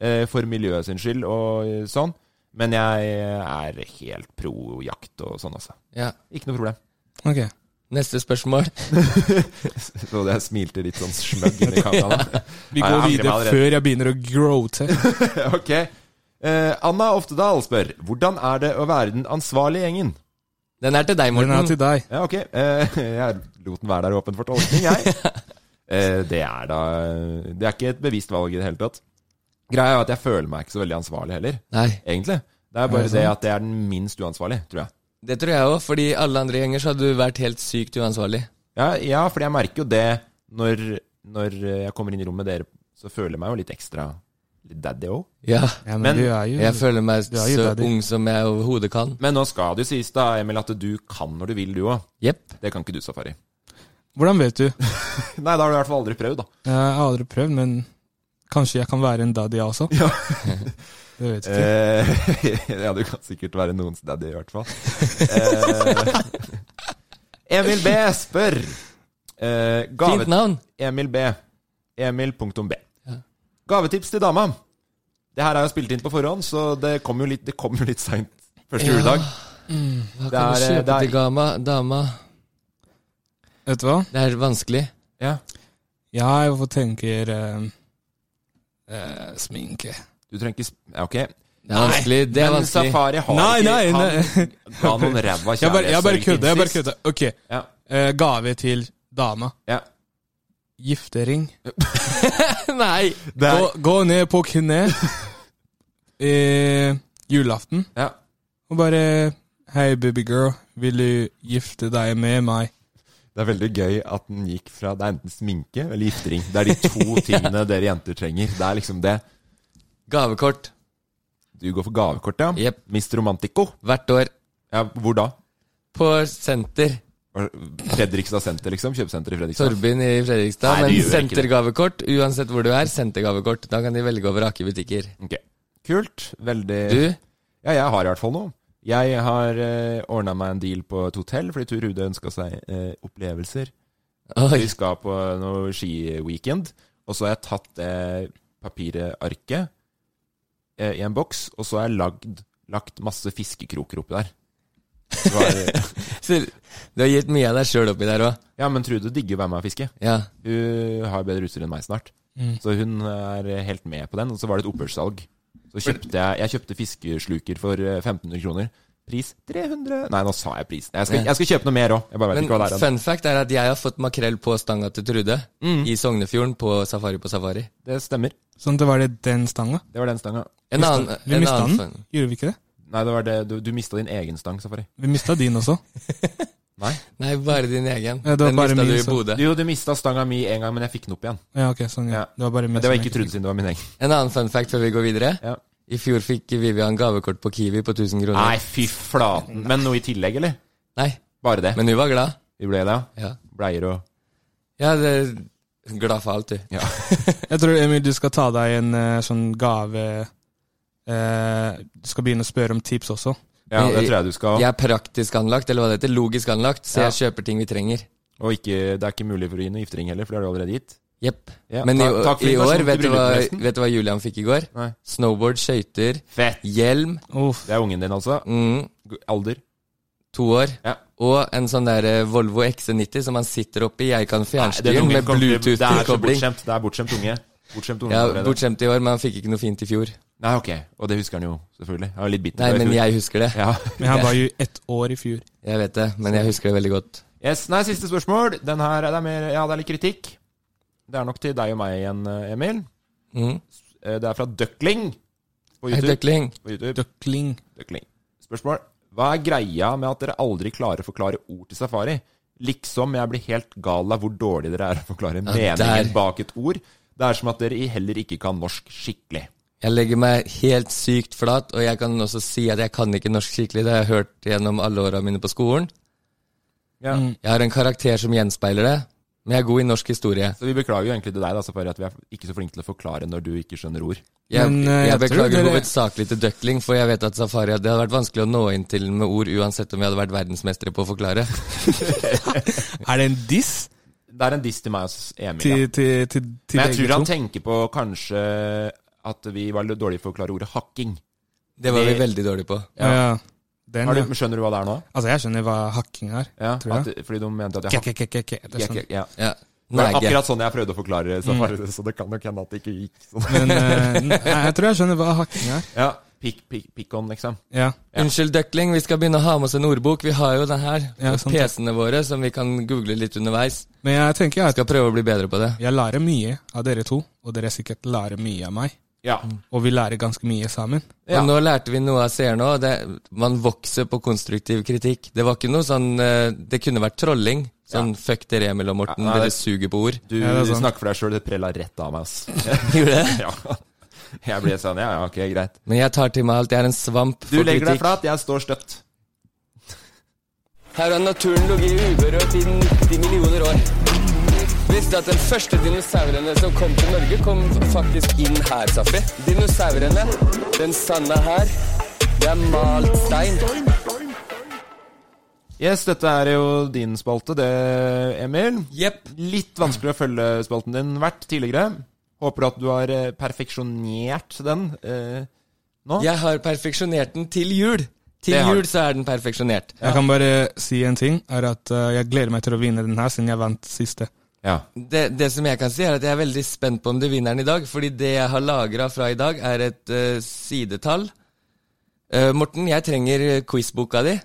Speaker 3: eh, for miljøet sin skyld og eh, sånn. Men jeg er helt pro jakt og sånn, altså.
Speaker 4: Ja.
Speaker 3: Ikke noe problem.
Speaker 1: Ok.
Speaker 4: Neste spørsmål.
Speaker 3: Så jeg smilte litt sånn smøgg inn i kameraet.
Speaker 1: Vi
Speaker 3: Nei, jeg
Speaker 1: går
Speaker 3: angrer meg
Speaker 1: videre
Speaker 3: allerede.
Speaker 1: før jeg begynner å grow til.
Speaker 3: ok. Eh, Anna Oftedal spør Hvordan er det å være den ansvarlige gjengen?
Speaker 4: Den er til deg,
Speaker 1: Den er
Speaker 4: Morten.
Speaker 1: til deg.
Speaker 3: Ja, ok. Eh, jeg lot den være der åpen for tolkning, jeg. Eh, det er da Det er ikke et bevisst valg i det hele tatt. Greia er at jeg føler meg ikke så veldig ansvarlig heller,
Speaker 4: Nei.
Speaker 3: egentlig. Det er bare det at jeg er den minst uansvarlig, tror jeg.
Speaker 4: Det tror jeg òg, fordi alle andre gjenger så hadde du vært helt sykt uansvarlig.
Speaker 3: Ja, ja for jeg merker jo det når, når jeg kommer inn i rommet med dere, så føler jeg meg jo litt ekstra litt daddy òg.
Speaker 4: Ja.
Speaker 1: Ja, men,
Speaker 3: Men
Speaker 1: du er jo
Speaker 4: Jeg føler meg
Speaker 1: Du er jo
Speaker 4: så
Speaker 1: daddy.
Speaker 4: ung som jeg overhodet kan.
Speaker 3: Men nå skal det jo sies, da, Emil, at du kan når du vil, du òg.
Speaker 4: Jepp.
Speaker 3: Det kan ikke du, Safari.
Speaker 1: Hvordan vet du? Jeg
Speaker 3: Nei, da har du i hvert fall aldri prøvd, da.
Speaker 1: har aldri prøvd, men kanskje jeg kan være en daddy jeg også?
Speaker 3: Ja.
Speaker 1: Det vet jeg ikke.
Speaker 3: Eh, ja, du kan sikkert være noens daddy, i hvert fall. Eh, Emil B spør eh, gave-
Speaker 4: Fint navn.
Speaker 3: Emil B. Emil.b. Gavetips til dama. Det her er jo spilt inn på forhånd, så det kom jo litt, det kom jo litt seint første juledag.
Speaker 4: Hva
Speaker 3: Det
Speaker 4: kan du
Speaker 3: er, eh, det
Speaker 4: kjøpe
Speaker 3: er-
Speaker 4: til gama, dama?
Speaker 1: Vet du hva?
Speaker 4: Det er vanskelig.
Speaker 3: Ja.
Speaker 1: Jeg hvorfor tenker eh, eh, sminke.
Speaker 3: Du trenger ikke sp- ja, Ok.
Speaker 4: Det er vanskelig. Det er
Speaker 3: Men
Speaker 4: vanskelig.
Speaker 3: Safari har
Speaker 1: Nei, nei,
Speaker 3: ikke Han ga noen ræva
Speaker 1: Jeg bare, jeg bare
Speaker 3: kjærlighetssorg
Speaker 1: kødder. Jeg bare
Speaker 3: sist.
Speaker 1: kødder. Ok,
Speaker 3: Ja,
Speaker 1: eh, gave til dama.
Speaker 3: ja.
Speaker 1: Giftering.
Speaker 4: Nei!
Speaker 3: Det er,
Speaker 1: Gå, gå ned på kne eh, julaften
Speaker 3: ja.
Speaker 1: og bare Hei, babygirl. Vil du gifte deg med meg?
Speaker 3: Det er veldig gøy at den gikk fra Det er enten sminke eller giftering. Det er de to tingene dere jenter trenger. Det er liksom det.
Speaker 4: Gavekort.
Speaker 3: Du går for gavekort, ja.
Speaker 4: Jepp.
Speaker 3: Miss Romantico.
Speaker 4: Hvert år.
Speaker 3: Ja, hvor da?
Speaker 4: På senter.
Speaker 3: Fredrikstad senter, liksom? Kjøpesenter i Fredrikstad?
Speaker 4: Torbyen i
Speaker 3: Nei, det
Speaker 4: Fredrikstad. Men
Speaker 3: gjør ikke det.
Speaker 4: sentergavekort, uansett hvor du er, sentergavekort. Da kan de velge og vrake butikker.
Speaker 3: Ok. Kult. Veldig
Speaker 4: Du?
Speaker 3: Ja, jeg har i hvert fall noe. Jeg har uh, ordna meg en deal på et hotell, fordi Tur Rude ønska seg eh, opplevelser.
Speaker 4: Oi.
Speaker 3: Vi skal på noe skiweekend, og så har jeg tatt det papiret arket eh, i en boks, og så har jeg lagd, lagt masse fiskekroker oppi der. Det Var,
Speaker 4: Så Du har gitt mye av deg sjøl oppi der òg.
Speaker 3: ja, men Trude digger å være med og fiske.
Speaker 4: Ja.
Speaker 3: Hun har bedre utstyr enn meg snart. Så hun er helt med på den. Og så var det et opphørssalg. Så kjøpte jeg, jeg kjøpte fiskesluker for eh, 1500 kroner. Pris 300 Nei, nå sa jeg prisen. Jeg skal, jeg skal kjøpe noe mer òg. Jeg bare vet
Speaker 4: Men
Speaker 3: ikke hva det er.
Speaker 4: fun fact er at jeg har fått makrell på stanga til Trude.
Speaker 1: Mm.
Speaker 4: I Sognefjorden, på Safari på Safari.
Speaker 3: Det stemmer.
Speaker 1: Sånn at det var det den stanga.
Speaker 3: Det var den stanga.
Speaker 4: En annen,
Speaker 1: Vi
Speaker 4: en
Speaker 1: mista
Speaker 4: annen
Speaker 1: den,
Speaker 4: fun
Speaker 1: gjorde vi ikke det?
Speaker 3: Nei, det var det. Du, du mista din egen stang, Safari.
Speaker 1: Vi mista din også.
Speaker 3: Nei.
Speaker 4: Nei, bare din egen.
Speaker 1: Ja, det var
Speaker 4: den
Speaker 1: bare
Speaker 4: mista
Speaker 1: min
Speaker 4: du i
Speaker 1: som-
Speaker 4: Bodø.
Speaker 3: Jo, du mista stanga mi en gang, men jeg fikk den opp igjen.
Speaker 1: Ja, ok, sånn, ja.
Speaker 3: Ja.
Speaker 1: Det var bare
Speaker 3: Men
Speaker 1: meg
Speaker 3: det var
Speaker 1: som
Speaker 3: ikke
Speaker 1: egentlig-
Speaker 3: Trude sin, det var min egen.
Speaker 4: En annen fun fact før vi går videre.
Speaker 3: Ja.
Speaker 4: I fjor fikk Vivian gavekort på Kiwi på 1000 kroner.
Speaker 3: Nei, fy flaten. Men noe i tillegg, eller?
Speaker 4: Nei,
Speaker 3: Bare det.
Speaker 4: Men hun var glad.
Speaker 3: Vi ble det, ja.
Speaker 4: Ja,
Speaker 3: Bleier og
Speaker 4: ja det er glad for alt, du.
Speaker 3: Ja.
Speaker 1: Jeg tror, Emil, du skal ta deg en eh, sånn gave eh, Du skal begynne å spørre om tips også.
Speaker 3: Ja, det tror jeg du skal.
Speaker 4: Jeg er praktisk anlagt, eller hva det heter. Logisk anlagt. Så
Speaker 3: Ja.
Speaker 4: jeg kjøper ting vi trenger.
Speaker 3: Og ikke, det er ikke mulig for å gi noe giftering heller, for det har du allerede gitt.
Speaker 4: Jepp.
Speaker 3: Ja,
Speaker 4: Men i,
Speaker 3: takk- takk for
Speaker 4: i
Speaker 3: informasjonen
Speaker 4: år,
Speaker 3: sånn til
Speaker 4: vet du, hva,
Speaker 3: bryllupet, forresten.
Speaker 4: vet du hva Julian fikk i går?
Speaker 3: Nei.
Speaker 4: Snowboard, skøyter,
Speaker 3: Fett.
Speaker 4: hjelm.
Speaker 1: Uff.
Speaker 3: Det er ungen din, altså.
Speaker 4: Mm,
Speaker 3: G- Alder.
Speaker 4: to år.
Speaker 3: Ja.
Speaker 4: Og en sånn der eh, Volvo XC90 som han sitter oppi. Jeg kan
Speaker 3: Den
Speaker 4: fjernstyre
Speaker 3: ungen
Speaker 4: med
Speaker 3: kommer til- Det er så
Speaker 4: Bluetooth-tilkobling.
Speaker 3: bortskjemt. Det er bortskjemt unge. Bortskjemt unge
Speaker 4: Ja,
Speaker 3: allerede.
Speaker 4: Bortskjemt i år, men han fikk ikke noe fint i fjor.
Speaker 3: Nei, ok. Og det husker han jo, selvfølgelig. Han var litt bitter.
Speaker 4: Nei,
Speaker 3: på det
Speaker 4: men
Speaker 3: i fjor.
Speaker 4: jeg husker det.
Speaker 3: Ja.
Speaker 1: Men han var jo ett år i fjor.
Speaker 4: Jeg vet det, men jeg husker det veldig godt.
Speaker 3: Yes, nei, siste spørsmål. Den her det er mer Ja, det er litt kritikk. Det er nok til deg og meg igjen, eh, Emil.
Speaker 4: Mm.
Speaker 3: Eh, Det er fra Døkling på
Speaker 4: Hei,
Speaker 3: YouTube.
Speaker 4: Døkling.
Speaker 3: På YouTube.
Speaker 1: Døkling.
Speaker 3: Døkling. Spørsmål. Hva er greia med at dere aldri klarer å forklare ord til safari? Liksom jeg blir helt gal av hvor dårlig dere er å forklare meningen
Speaker 4: der.
Speaker 3: bak et ord. Det er som at dere i- heller ikke kan norsk skikkelig.
Speaker 4: Jeg legger meg helt sykt flat, og jeg kan også si at jeg kan ikke norsk skikkelig. Det har jeg hørt gjennom alle åra mine på skolen.
Speaker 3: Ja.
Speaker 1: Mm.
Speaker 4: Jeg har en karakter som gjenspeiler det, Men jeg er god i norsk historie.
Speaker 3: Så vi beklager jo egentlig til deg, da, Safari, at vi er ikke så flinke til å forklare når du ikke skjønner ord.
Speaker 4: Jeg,
Speaker 1: Men, eh,
Speaker 4: jeg,
Speaker 1: jeg tror
Speaker 4: beklager
Speaker 1: dere-
Speaker 4: hovedsakelig til Duckling, for jeg vet at Safari Det hadde vært vanskelig å nå inn til med ord uansett om vi hadde vært verdensmestere på å forklare.
Speaker 1: Er det en diss
Speaker 3: Det er en diss til meg og Emil.
Speaker 1: til,
Speaker 3: Ja.
Speaker 1: til, til, til
Speaker 3: Men jeg
Speaker 1: begge
Speaker 3: tror han
Speaker 1: to?
Speaker 3: tenker på kanskje at vi var litt dårlige for å forklare ordet hakking.
Speaker 4: Det var vi
Speaker 3: Det-
Speaker 4: veldig dårlige på.
Speaker 1: Ja. Den,
Speaker 3: Har
Speaker 1: ja.
Speaker 3: du, skjønner du hva det er nå?
Speaker 1: Altså, jeg skjønner hva hakking er.
Speaker 3: Ja,
Speaker 1: Tror jeg.
Speaker 3: At, fordi de mente at jeg hak-
Speaker 1: Ke-ke-ke-ke. Det er sånn.
Speaker 3: Ja, ja.
Speaker 4: Ja.
Speaker 3: Det var
Speaker 4: Nege.
Speaker 3: akkurat sånn jeg prøvde å forklare Safari, så det kan nok hende at det ikke gikk sånn.
Speaker 1: Men eh, nei, jeg tror jeg skjønner hva hakking er.
Speaker 3: Ja, pick, pick, pick on, liksom.
Speaker 1: Ja.
Speaker 4: Unnskyld, Duckling, vi skal begynne å ha med oss en ordbok. Vi har jo den her.
Speaker 1: Ja, sant det.
Speaker 4: PC-ene våre, som vi kan google litt underveis.
Speaker 1: Men jeg tenker jeg,
Speaker 4: Skal prøve å bli bedre på det.
Speaker 1: jeg lærer mye av dere to, og dere sikkert lærer mye av meg.
Speaker 3: Ja.
Speaker 1: Og vi lærer ganske mye sammen.
Speaker 3: Ja.
Speaker 4: Og nå lærte vi noe av seerne òg. Man vokser på konstruktiv kritikk. Det var ikke noe sånn eh, Det kunne vært trolling. Sånn fuck dere, Emil og Morten,
Speaker 3: Ja, nei,
Speaker 4: dere
Speaker 3: det-
Speaker 4: suger på ord.
Speaker 3: Du,
Speaker 1: Ja, det er
Speaker 3: du
Speaker 1: sant.
Speaker 3: snakker for deg sjøl, det prella rett av meg, ass.
Speaker 4: Gjorde det?
Speaker 3: Ja. Jeg ble sånn, ja, ja, ok, greit.
Speaker 4: Men jeg tar til meg alt. Jeg er en svamp
Speaker 3: Du
Speaker 4: for
Speaker 3: legger deg
Speaker 4: kritikk.
Speaker 3: flat, jeg står støtt.
Speaker 4: Her har naturen ligget uberørt i 90 millioner år. Visste at den første dinosaurene som kom til Norge, kom faktisk inn her, Safi. Dinosaurene, den sanda her, det er malt stein.
Speaker 3: Yes, dette er jo din spalte, det, Emil.
Speaker 4: Jepp.
Speaker 3: Litt vanskelig å følge spalten din vært tidligere. Håper at du har eh, perfeksjonert den. eh,
Speaker 4: Jeg har perfeksjonert den til jul. Til
Speaker 3: Det har du.
Speaker 4: jul så er den perfeksjonert.
Speaker 1: Jeg kan bare si en ting, er at eh, jeg gleder meg til å vinne den her, siden jeg vant siste.
Speaker 3: Ja.
Speaker 4: Det, det som jeg kan si, er at jeg er veldig spent på om du vinner den i dag. Fordi det jeg har lagra fra i dag, er et eh, sidetall. Eh, Morten, jeg trenger eh, quizboka di.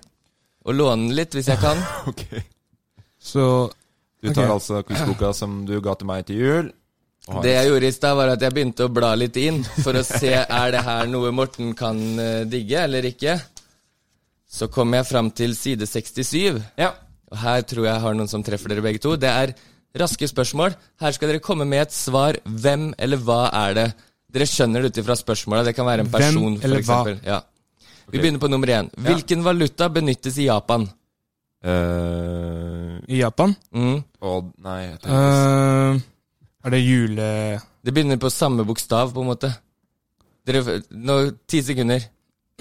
Speaker 4: Og låne den litt, hvis jeg kan.
Speaker 3: Ok.
Speaker 1: Så
Speaker 3: Du tar
Speaker 1: Ok.
Speaker 3: altså quizboka som du ga til meg til jul. og har-
Speaker 4: Det jeg gjorde i stad, var at jeg begynte å bla litt inn for å se er det her noe Morten kan eh, digge eller ikke. Så kom jeg fram til side 67.
Speaker 3: Ja.
Speaker 4: Og her tror jeg har noen som treffer dere begge to. Det er raske spørsmål. Her skal dere komme med et svar. Hvem eller hva er det? Dere skjønner det ut ifra spørsmåla. Det kan være en
Speaker 1: Hvem
Speaker 4: person,
Speaker 1: eller
Speaker 4: f.eks. Ja. Vi begynner på nummer én. Hvilken valuta benyttes i Japan?
Speaker 3: Eh,
Speaker 1: i Japan
Speaker 4: Mm.
Speaker 3: og Nei, jeg tenker
Speaker 1: eh, er det jule...
Speaker 4: Det begynner på samme bokstav, på en måte. Dere, nå, ti sekunder.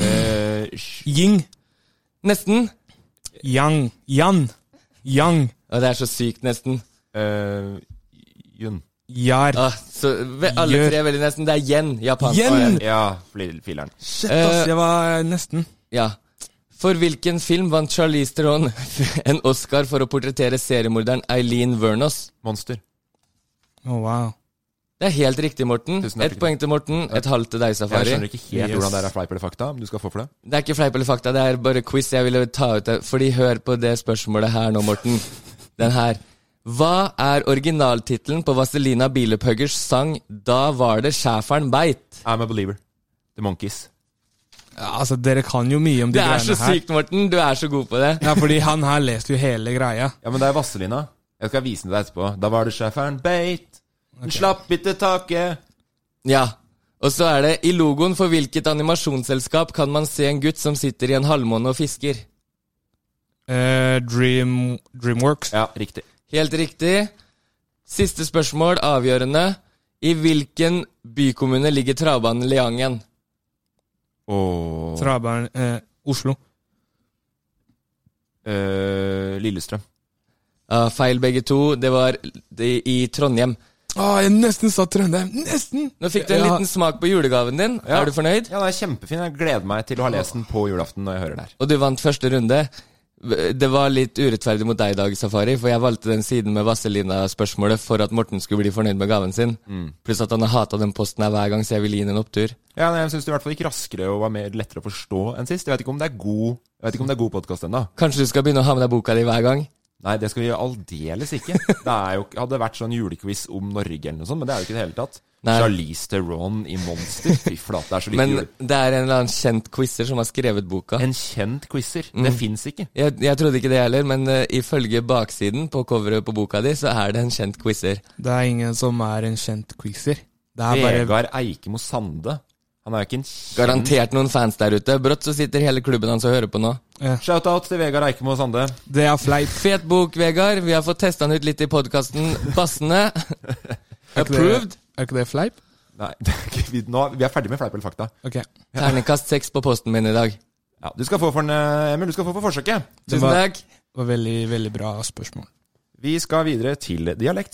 Speaker 3: Eh, sh-
Speaker 1: Ying,
Speaker 4: Nesten.
Speaker 1: yang, yan, yang,
Speaker 4: Og det er så sykt, nesten.
Speaker 3: eh, Jun.
Speaker 1: yar.
Speaker 4: Ah, så, ve, alle
Speaker 1: Gjør.
Speaker 4: tre er veldig nesten. Det er yen. Japan.
Speaker 1: Yen!
Speaker 3: Ja, fil- fileren.
Speaker 1: Shit, ass,
Speaker 4: eh,
Speaker 1: jeg var nesten.
Speaker 4: Ja. For hvilken film vant Charlize Theron en Oscar for å portrettere seriemorderen Eileen Vernos?
Speaker 3: Monster.
Speaker 1: Å, wow.
Speaker 4: Det er helt riktig, Morten.
Speaker 3: Tusen
Speaker 4: Ett
Speaker 3: hjertelig.
Speaker 4: poeng til Morten, et halvt til deg,
Speaker 3: Jeg
Speaker 4: Safari.
Speaker 3: skjønner ikke helt
Speaker 1: Yes.
Speaker 3: hvordan det er fleip eller fakta, men du skal få for det.
Speaker 4: Det er ikke fleip eller fakta, det er bare quiz. Jeg ville ta ut det. Fordi hør på det spørsmålet her nå, Morten. Den her. Hva er originaltittelen på Vazelina Bilephuggers sang 'Da var det schæferen beit'?
Speaker 3: I'm a believer. The Monkeys.
Speaker 1: Ja, Altså, dere kan jo mye om de
Speaker 4: Det er så
Speaker 1: greiene her.
Speaker 4: sykt, Morten. Du er så god på det.
Speaker 1: Ja, fordi han her leste jo hele greia.
Speaker 3: Ja, men det er Vasselina. Jeg skal vise den til deg etterpå. Da var det schæferen Beit. Den slapp ikke taket.
Speaker 4: Ja. Og så er det I logoen for hvilket animasjonsselskap kan man se en gutt som sitter i en halvmåne og fisker?
Speaker 1: Eh, Dream, Dreamworks.
Speaker 3: Ja, riktig.
Speaker 4: Helt riktig. Siste spørsmål, avgjørende. I hvilken bykommune ligger travbanen Leangen?
Speaker 3: Og
Speaker 1: Trabarn, eh, Oslo.
Speaker 3: eh, Lillestrøm.
Speaker 4: Ja, feil begge to. Det var de, i Trondheim.
Speaker 1: Å, Ah, jeg nesten sa Trøndelag. Nesten!
Speaker 4: Nå fikk du en
Speaker 1: Ja.
Speaker 4: liten smak på julegaven din.
Speaker 3: Ja.
Speaker 4: Er du fornøyd?
Speaker 3: Ja, den er kjempefin. Jeg gleder meg til å ha lest den på julaften når jeg hører det her.
Speaker 4: Og du vant første runde. Det var litt urettferdig mot deg i dag, Safari, for jeg valgte den siden med Vazelina-spørsmålet for at Morten skulle bli fornøyd med gaven sin. Pluss at han har hata den posten her hver gang, så jeg vil gi han en opptur.
Speaker 3: Ja, men Jeg syns det i hvert fall gikk raskere og var mer lettere å forstå enn sist. Jeg vet ikke om det er god Jeg vet ikke om det er god podkast ennå.
Speaker 4: Kanskje du skal begynne å ha med deg boka di hver gang?
Speaker 3: Nei, det skal vi gjøre aldeles ikke. Det er jo, ikke- hadde vært sånn julequiz om Norge eller noe sånt, men det er jo ikke i det hele tatt.
Speaker 4: Nei.
Speaker 3: Charlize Theron i Monster. Fy flate, det er så lite
Speaker 4: Men
Speaker 3: jul.
Speaker 4: det er en eller annen kjent quizer som har skrevet boka.
Speaker 3: En kjent quizer.
Speaker 4: Mm.
Speaker 3: Det fins ikke.
Speaker 4: Jeg, jeg trodde ikke det heller, men eh, ifølge baksiden på coveret på boka di, så er det en kjent quizer.
Speaker 1: Det er ingen som er en kjent quizer. Det er bare
Speaker 3: Vegard Eikemo Sande Han er jo ikke en kjent
Speaker 4: Garantert noen fans der ute. Brått så sitter hele klubben hans og hører på nå.
Speaker 3: Shoutout til Vegard Eikemo Sande.
Speaker 5: Det er fleip.
Speaker 4: Fet bok, Vegard. Vi har fått testa den ut litt i podkasten Bassene. Approved.
Speaker 5: Er ikke det fleip?
Speaker 3: Nei, det er ikke, vi, nå, vi er ferdig med fleip eller fakta.
Speaker 5: Ok.
Speaker 4: Terningkast seks på posten min i dag.
Speaker 3: Ja, du skal få for den, eh, Emil. Du skal få for forsøket.
Speaker 5: Det
Speaker 4: Tusen
Speaker 5: var,
Speaker 4: takk.
Speaker 5: var veldig, veldig bra spørsmål.
Speaker 3: Vi skal videre til dialekt.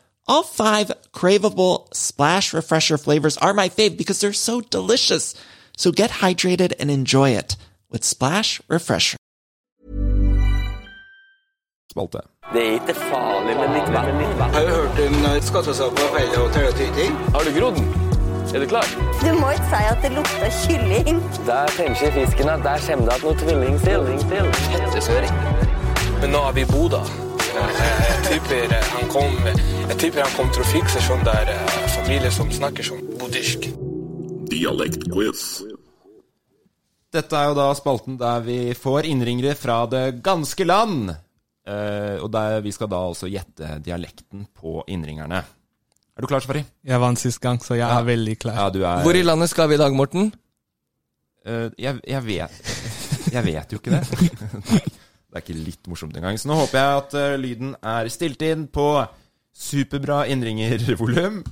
Speaker 1: All five craveable splash refresher flavors are my fave because they're so delicious. So get hydrated and enjoy it with Splash Refresher.
Speaker 3: Spalte.
Speaker 4: Det er ikke farlig, men litt verdt.
Speaker 1: Har du hørt om skattesak på feil hotell og tyting?
Speaker 4: Har du grodd? Er du klar?
Speaker 6: Du må ikke si at det lukter kylling.
Speaker 4: Der tenker fisken at der kommer det at noe tvilling til. Hettesøring.
Speaker 1: Men nå er vi i Bodø. Jeg tipper han kom, jeg tipper han kom til å fikse sånn der familie som snakker sånn bodisk.
Speaker 3: Dette er jo da spalten der vi får innringere fra det ganske land. Eh, og der vi skal da altså gjette dialekten på innringerne. Er du klar, Safari?
Speaker 5: Jeg vant sist gang, så jeg er veldig klar.
Speaker 3: Ja, du er
Speaker 4: Hvor i landet skal vi i dag, Morten?
Speaker 3: Eh, jeg, jeg vet Jeg vet jo ikke det. Nei, det er ikke litt morsomt engang. Så nå håper jeg at eh, lyden er stilt inn på superbra innringervolum.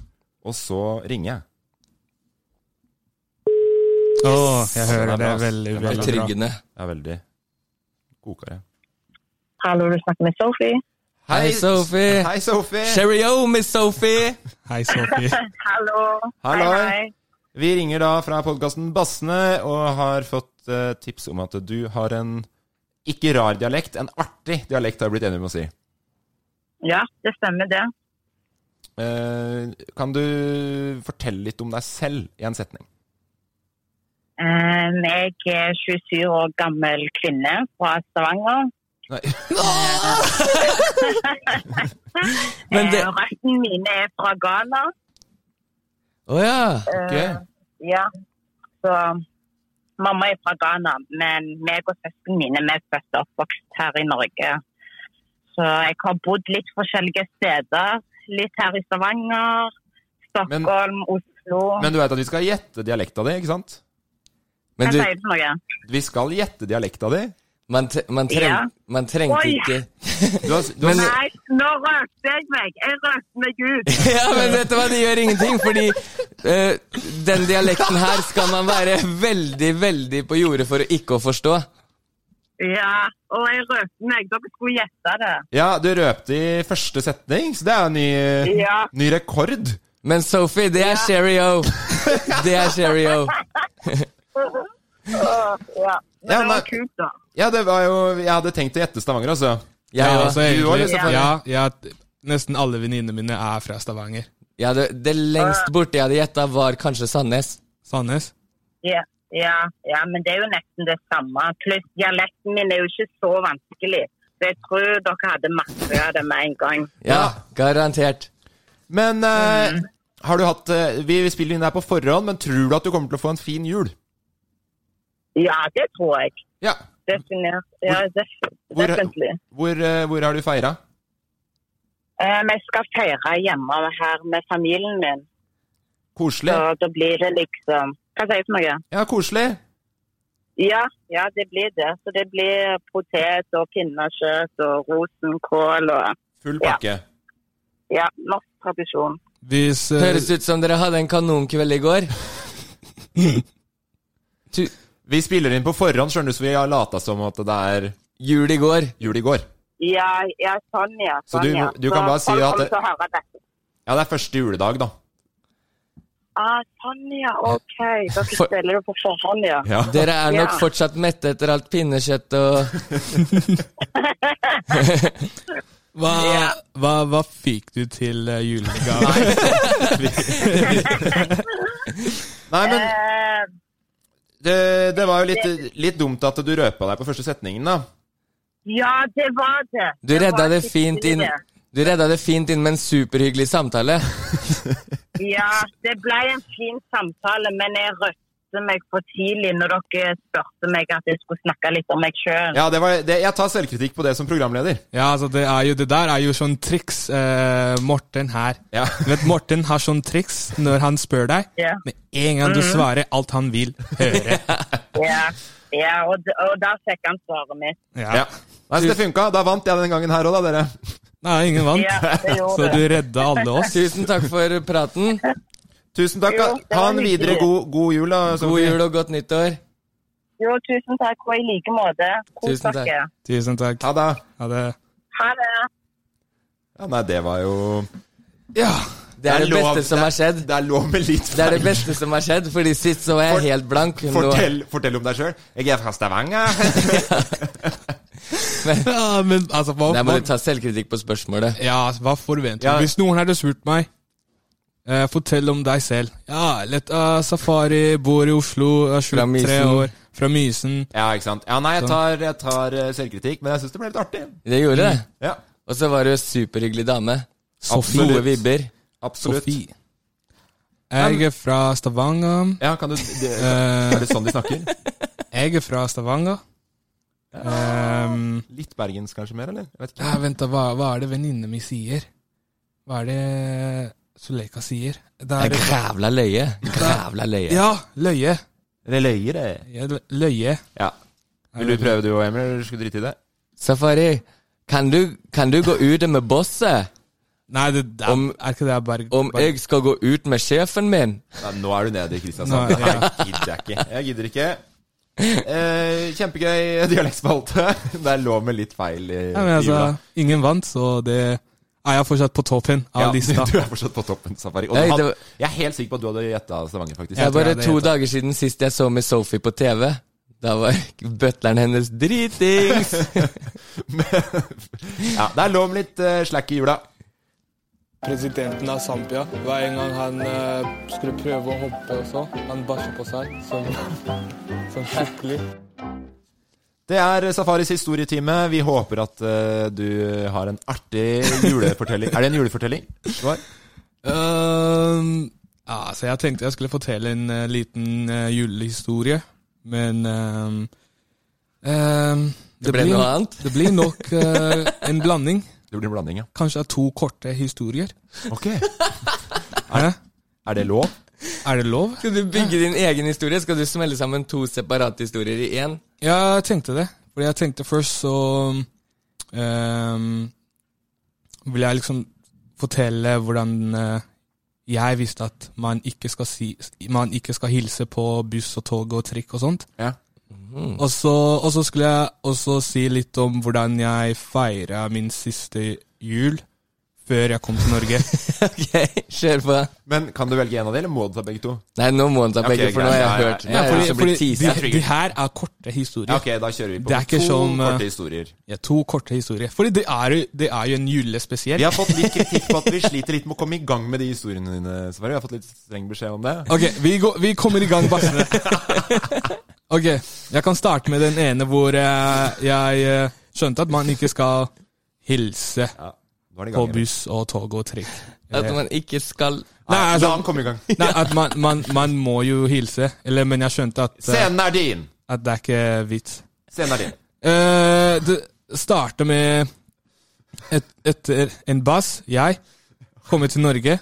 Speaker 3: Og så ringer jeg.
Speaker 5: Å, jeg hører det. er Veldig,
Speaker 3: Det er
Speaker 5: veldig bra.
Speaker 4: Tryggende.
Speaker 3: Jeg er veldig godkare.
Speaker 6: Hallo, du snakker med Sophie.
Speaker 4: Hei, Sophie.
Speaker 3: Hei, Sophie.
Speaker 4: Cheerio, Miss Sophie!
Speaker 5: Hei, Sofie.
Speaker 6: Hallo.
Speaker 3: Hallo. Vi ringer da fra podkasten Bassene og har fått eh, tips om at du har en ikke rar dialekt, en artig dialekt har jeg blitt enig med å si.
Speaker 6: Ja, det stemmer det.
Speaker 3: Eh, kan du fortelle litt om deg selv i en setning?
Speaker 6: Eh, Jeg er 27 år gammel kvinne fra Stavanger.
Speaker 3: Nei.
Speaker 4: Men det
Speaker 6: Eh, Resten mine er fra Ghana.
Speaker 4: Å ja.
Speaker 3: Okay.
Speaker 6: Ja, så mamma er fra Ghana, men meg og søsken mine vi er født og oppvokst her i Norge. Så jeg har bodd litt forskjellige steder. Litt her i Stavanger,
Speaker 3: Men-
Speaker 6: Stockholm, Oslo.
Speaker 3: Men du vet at vi skal gjette dialekta di, ikke sant?
Speaker 4: Men
Speaker 6: Hva
Speaker 4: du,
Speaker 6: sier du for noe?
Speaker 3: Vi skal gjette dialekta di.
Speaker 4: man, tre- man,
Speaker 6: Ja.
Speaker 4: treng, man trengte
Speaker 6: Oi.
Speaker 4: ikke
Speaker 3: Du har, du har,
Speaker 6: Nei, nå røpte jeg meg! Jeg røpte meg ut!
Speaker 4: Ja, men vet du hva, det gjør ingenting, fordi eh, den dialekten her skal man være veldig, veldig på jordet for å ikke å forstå.
Speaker 6: Ja, og jeg røpte meg. Dere skulle gjette det.
Speaker 3: ja, du røpte i første setning, så det er en ny,
Speaker 6: Ja.
Speaker 3: ny rekord.
Speaker 4: Men Sophie, det er Sherry O. Det er Sherry O.
Speaker 6: Åh, ja. Men
Speaker 3: Ja,
Speaker 6: det var
Speaker 3: nei.
Speaker 6: kult, da.
Speaker 3: Ja, det var jo Jeg hadde tenkt å gjette Stavanger, altså.
Speaker 1: Ja,
Speaker 3: Ja,
Speaker 1: altså,
Speaker 3: du var sånn.
Speaker 1: egentlig,
Speaker 3: det, selvfølgelig.
Speaker 1: ja, jeg, nesten alle venninnene mine er fra Stavanger.
Speaker 4: Ja, det, det lengst borte jeg hadde gjetta, var kanskje Sandnes.
Speaker 1: Sandnes?
Speaker 6: Ja, ja, ja, men det er jo nesten det samme. Pluss dialekten min er jo ikke så vanskelig. Så jeg tror dere hadde masse av det med en gang.
Speaker 4: Ja, garantert.
Speaker 3: Men eh,
Speaker 6: Mm.
Speaker 3: har du hatt eh, Vi vi spiller inn det her på forhånd, men tror du at du kommer til å få en fin jul?
Speaker 6: Ja, det tror jeg.
Speaker 3: Ja.
Speaker 6: Definert. Ja, def- defentlig.
Speaker 3: Hvor, eh, hvor har du feira?
Speaker 6: Eh, Vi skal feire hjemme her med familien min.
Speaker 3: Koselig.
Speaker 6: Så da blir det liksom Hva sier du for noe?
Speaker 3: Ja, koselig.
Speaker 6: Ja, ja, det blir det. Så det blir potet og pinnekjøtt og rosenkål og
Speaker 3: Full
Speaker 6: pakke. Ja, norsk tradisjon.
Speaker 1: Hvis, eh,
Speaker 4: Høres ut som dere hadde en kanonkveld i går.
Speaker 3: Vi spiller inn på forhånd, skjønner du, så vi har lata som at det er
Speaker 4: Jul i går.
Speaker 3: Jul i går.
Speaker 6: Ja, ja sånn ja.
Speaker 3: Så du-
Speaker 6: sånn, ja.
Speaker 3: du kan bare si
Speaker 6: folk
Speaker 3: at
Speaker 6: kommer
Speaker 3: det-
Speaker 6: til å høre dette.
Speaker 3: Ja, det er første juledag, da.
Speaker 6: Ah, sånn ja, OK. Dere
Speaker 4: For-
Speaker 6: spiller det på forhånd, ja.
Speaker 4: Dere er nok
Speaker 6: Ja.
Speaker 4: fortsatt mette etter alt pinnekjøtt og
Speaker 1: Hva, hva, hva fikk du til eh, julegave?
Speaker 3: Nei, men
Speaker 6: Eh,
Speaker 3: det, det var jo litt, litt dumt at du røpa deg på første setningen, da.
Speaker 6: ja, det var det.
Speaker 4: Du redda
Speaker 6: var
Speaker 4: det
Speaker 6: skikkelig
Speaker 4: fint inn
Speaker 6: det.
Speaker 4: Du redda det fint inn med en superhyggelig samtale.
Speaker 6: Ja, det ble en fin samtale, men jeg røpte meg for tidlig når dere spurte meg at jeg skulle snakke litt om meg sjøl.
Speaker 3: Ja, det var, det, jeg tar selvkritikk på det som programleder.
Speaker 1: Ja, altså det, er jo, det der er jo sånn triks eh, Morten her. Du vet, Morten har sånn triks når han spør deg.
Speaker 6: Ja.
Speaker 1: Med en gang du
Speaker 3: Mm.
Speaker 6: Mhm.
Speaker 1: svarer alt han vil høre.
Speaker 6: Ja, ja og, d- og da fikk han svaret mitt.
Speaker 3: Ja. Nei, så det funka. Da vant jeg den gangen her òg, da, dere.
Speaker 1: Nei, ingen vant.
Speaker 6: Ja, det gjorde
Speaker 1: Så du
Speaker 6: det.
Speaker 1: redda alle oss.
Speaker 4: Tusen takk for praten.
Speaker 3: Tusen takk.
Speaker 6: Jo, det
Speaker 3: ha
Speaker 6: var
Speaker 3: en videre
Speaker 6: hyggelig.
Speaker 3: god, god jul, da.
Speaker 4: God
Speaker 3: Sofie.
Speaker 4: jul og godt nyttår.
Speaker 6: Jo, tusen takk, og i like måte. Kos
Speaker 4: Tusen takk.
Speaker 6: dere.
Speaker 1: Tusen takk.
Speaker 3: Ha det.
Speaker 1: Ha det.
Speaker 6: Ha det.
Speaker 3: Ja, nei, det var jo
Speaker 4: Ja. Det er det
Speaker 3: lov-
Speaker 4: beste som
Speaker 3: det
Speaker 4: har skjedd.
Speaker 3: Det er lov med litt
Speaker 4: Det er det
Speaker 3: feil.
Speaker 4: beste som har skjedd, fordi sist så var jeg helt blank. Nå-
Speaker 3: Fortell, fortell om deg sjøl. Jeg er fra Stavanger.
Speaker 1: Ja, men altså, hva,
Speaker 4: Nei, må
Speaker 1: hva,
Speaker 4: du ta selvkritikk på spørsmålet.
Speaker 1: ja, altså, hva forventer du?
Speaker 4: Ja.
Speaker 1: Hvis noen hadde spurt meg eh, Fortell om deg selv. Ja, lett av safari, bor i Oslo, er
Speaker 4: Fra
Speaker 1: 23
Speaker 4: Mysen.
Speaker 1: år, fra Mysen.
Speaker 3: Ja, ikke sant. Ja, nei, jeg tar, jeg tar eh, selvkritikk, men jeg syns det ble litt artig.
Speaker 4: Det gjorde det.
Speaker 3: Ja,
Speaker 4: Og så var du en superhyggelig dame.
Speaker 1: Sophie.
Speaker 4: Gode vibber.
Speaker 3: absolutt.
Speaker 1: Sophie. Jeg er fra Stavanger.
Speaker 3: Ja, kan du det,
Speaker 1: Eh.
Speaker 3: Er det sånn de snakker?
Speaker 1: Jeg er fra Stavanger. Ehm,
Speaker 3: Litt bergens kanskje mer, eller? Jeg vet ikke.
Speaker 1: ja, vent, da. Hva, hva er det venninnene mi sier? Hva er det Suleika sier? Det
Speaker 4: Det
Speaker 1: er
Speaker 4: er Grævla løye. Grævla løye.
Speaker 1: Ja, løye.
Speaker 3: Det løyer, det.
Speaker 1: Ja, lø- Løye.
Speaker 3: Ja. Vil du prøve du og Emil, eller skal du drite i det?
Speaker 4: Safari, kan du, kan du gå ut med bosset?
Speaker 1: Nei, det, det er,
Speaker 4: Om-
Speaker 1: er ikke det Berg...
Speaker 4: Om
Speaker 1: Berg-
Speaker 4: jeg skal gå ut med sjefen min?
Speaker 3: Nei, nå er du nede i Kristiansand.
Speaker 1: Nei,
Speaker 3: Nei,
Speaker 1: ja.
Speaker 3: gidder jeg ikke. Jeg gidder ikke. Eh, kjempegøy dialektspalte. Det er lov med litt feil i
Speaker 1: Ja, men
Speaker 3: i jula.
Speaker 1: altså, ingen vant, så det er jeg fortsatt på toppen av
Speaker 3: Ja,
Speaker 1: lista.
Speaker 3: Du er fortsatt på toppen, Safari. Og
Speaker 4: Nei,
Speaker 3: han,
Speaker 4: det var-
Speaker 3: jeg er helt sikker på at du hadde gjetta Stavanger, faktisk.
Speaker 4: Det er bare
Speaker 1: det
Speaker 4: to
Speaker 1: heter.
Speaker 4: dager siden sist jeg så med Sophie på TV. Da var butleren hennes dritings!
Speaker 3: Ja, det er lov med litt eh, slack i jula.
Speaker 1: Presidenten av Zambia, hver en gang han eh, skulle prøve å hoppe og så, han bæsja på seg som, skikkelig.
Speaker 3: Det er eh, Safaris historietime. Vi håper at eh, du har en artig julefortelling. er det en julefortelling? Svar?
Speaker 1: Ehm, ja, så jeg tenkte jeg skulle fortelle en eh, liten eh, julehistorie, men ehm, ehm,
Speaker 4: Det ble noe annet.
Speaker 1: Det blir nok eh, en blanding,
Speaker 3: Det blir en blanding, ja.
Speaker 1: kanskje av to korte historier.
Speaker 3: Ok.
Speaker 1: Hæ?
Speaker 3: Er det lov?
Speaker 1: Er det lov?
Speaker 4: Skal du bygge din egen historie? Skal du smelle sammen to separate historier i én?
Speaker 1: Jeg tenkte det. Fordi jeg tenkte først så ehm, Vil jeg liksom fortelle hvordan eh, jeg visste at man ikke skal si Man ikke skal hilse på buss og tog og trikk og sånt.
Speaker 3: Ja.
Speaker 7: Mhm.
Speaker 1: Og så, og så skulle jeg også si litt om hvordan jeg feira min siste jul før jeg kom til Norge.
Speaker 7: ok, kjør på.
Speaker 3: Men kan du velge en av dem, eller må du ta begge to?
Speaker 7: Nei, nå må han ta
Speaker 3: Ja, ok,
Speaker 7: begge, for nå har jeg
Speaker 3: greit. Ja, ja,
Speaker 7: hørt.
Speaker 3: ja.
Speaker 7: Jeg har
Speaker 3: Nei,
Speaker 7: hørt som
Speaker 3: fordi-
Speaker 7: blir
Speaker 3: fordi
Speaker 7: teaset.
Speaker 3: de-
Speaker 1: De her er korte historier.
Speaker 3: Ja, ok, da kjører vi på.
Speaker 1: Det er ikke
Speaker 3: To
Speaker 1: som, eh,
Speaker 3: korte historier.
Speaker 1: Ja, to korte historier. Fordi det er, jo- det er jo en julespesiell.
Speaker 3: Vi har fått litt kritikk på at vi sliter litt med å komme i gang med de historiene dine. Sverre. Vi har fått litt streng beskjed om det.
Speaker 1: Ok, vi, går, vi kommer i gang, bassene. Ok, jeg kan starte med den ene hvor eh, jeg eh, skjønte at man ikke skal hilse
Speaker 3: nå er det i gang
Speaker 1: på
Speaker 3: igjen.
Speaker 1: buss og tog og trikk.
Speaker 7: At man ikke skal
Speaker 1: Nei,
Speaker 3: La
Speaker 1: altså,
Speaker 3: han komme i gang.
Speaker 1: nei at man, man, man må jo hilse, eller, men jeg skjønte at, eh,
Speaker 3: Scenen er din!
Speaker 1: at det er ikke vits.
Speaker 3: Scenen er din.
Speaker 1: Eh, det starter med et, etter en bass, jeg, kommer til Norge.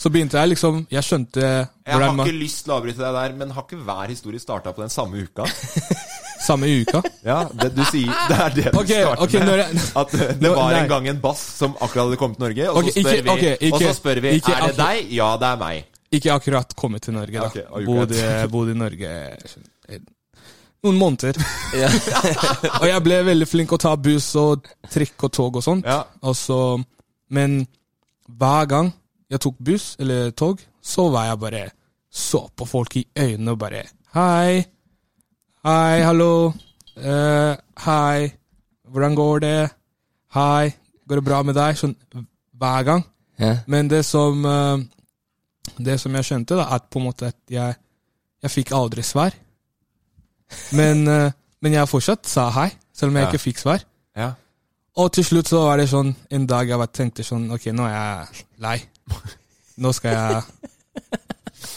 Speaker 1: Så begynte jeg liksom Jeg skjønte
Speaker 3: Jeg har
Speaker 1: hvordan man
Speaker 3: ikke lyst til å avbryte deg der, men har ikke hver historie starta på den samme uka?
Speaker 1: Samme uka.
Speaker 3: Ja, det du sier Det er det du
Speaker 1: Ok,
Speaker 3: starter
Speaker 1: ok, når jeg-
Speaker 3: med. At eh, det
Speaker 1: Nå-
Speaker 3: var
Speaker 1: nei.
Speaker 3: en gang en bass som akkurat hadde kommet til Norge, og
Speaker 1: Ok,
Speaker 3: så spør vi,
Speaker 1: ikke- ok, ikke-
Speaker 3: og så spør vi
Speaker 1: ikke altså-
Speaker 3: Er det
Speaker 1: akkurat-
Speaker 3: deg? Ja, det er meg.
Speaker 1: Ikke akkurat kommet til Norge, da.
Speaker 3: Ok, har du
Speaker 1: bodd,
Speaker 3: ikke-
Speaker 1: bodd i Norge eh, noen måneder. og jeg ble veldig flink å ta buss og trikk og tog og sånt. Og så, men hver gang jeg tok buss eller tog, så var jeg bare så på folk i øynene og bare Hei. Hei, hallo. Eh, hei. Hvordan går det? Hei. Går det bra med deg? Sånn hver gang.
Speaker 7: Ja.
Speaker 1: Men det som eh, det som jeg skjønte, da, at på en måte at jeg, jeg fikk aldri svar. Men, eh, men jeg fortsatt sa hei, selv om jeg
Speaker 3: Ja.
Speaker 1: ikke fikk svar.
Speaker 3: Ja.
Speaker 1: Og til slutt så var det sånn en dag jeg bare tenkte sånn Ok, nå er jeg lei. Nå skal jeg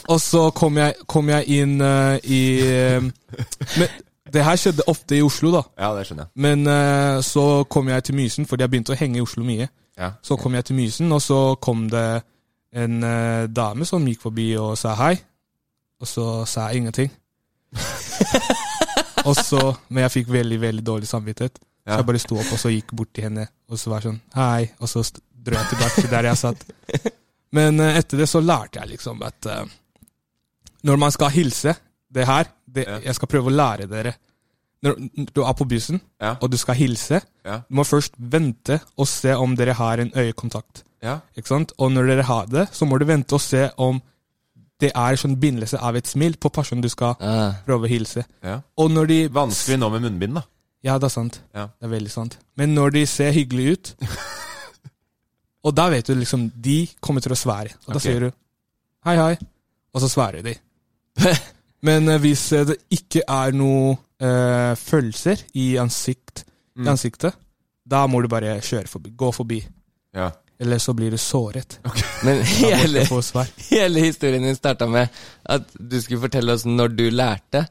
Speaker 1: Og så kom jeg, kom jeg inn eh, i eh, Men det her skjedde ofte i Oslo, da.
Speaker 3: Ja, det skjønner jeg.
Speaker 1: Men eh, så kom jeg til Mysen, fordi jeg begynte å henge i Oslo mye.
Speaker 3: Ja.
Speaker 1: Så kom jeg til Mysen, og så kom det en eh, dame som gikk forbi og sa hei. Og så sa jeg ingenting. og så, Men jeg fikk veldig veldig dårlig samvittighet. Så
Speaker 3: Ja.
Speaker 1: jeg bare sto opp og så gikk bort til henne og så var jeg sånn hei. Og så st- dro jeg tilbake til der jeg satt. Men eh, etter det så lærte jeg liksom at eh, når man skal hilse det her det, Jeg skal prøve å lære dere. Når du er på bussen, og du skal hilse,
Speaker 3: Ja.
Speaker 1: du må først vente og se om dere har en øyekontakt.
Speaker 3: Ja.
Speaker 1: Ikke sant? Og når dere har det, så må du vente og se om det er sånn bindelse av et smil på personen du skal
Speaker 7: Ah.
Speaker 1: prøve å hilse.
Speaker 3: Ja.
Speaker 1: Og når de
Speaker 3: Vanskelig nå med munnbind, da.
Speaker 1: Ja, det er sant.
Speaker 3: Ja.
Speaker 1: Det er veldig sant. Men når de ser hyggelige ut Og da vet du liksom De kommer til å svære. Og da
Speaker 3: Ok.
Speaker 1: sier du hei, hei, og så sværer de. Men eh, hvis eh, det ikke er noe eh, følelser i, ansikt, i ansiktet, da må du bare kjøre forbi. Gå forbi.
Speaker 3: Ja.
Speaker 1: Eller så blir du såret.
Speaker 7: Men
Speaker 1: Da må du
Speaker 7: hele,
Speaker 1: få svar.
Speaker 7: hele historien din starta med at du skulle fortelle oss når du lærte.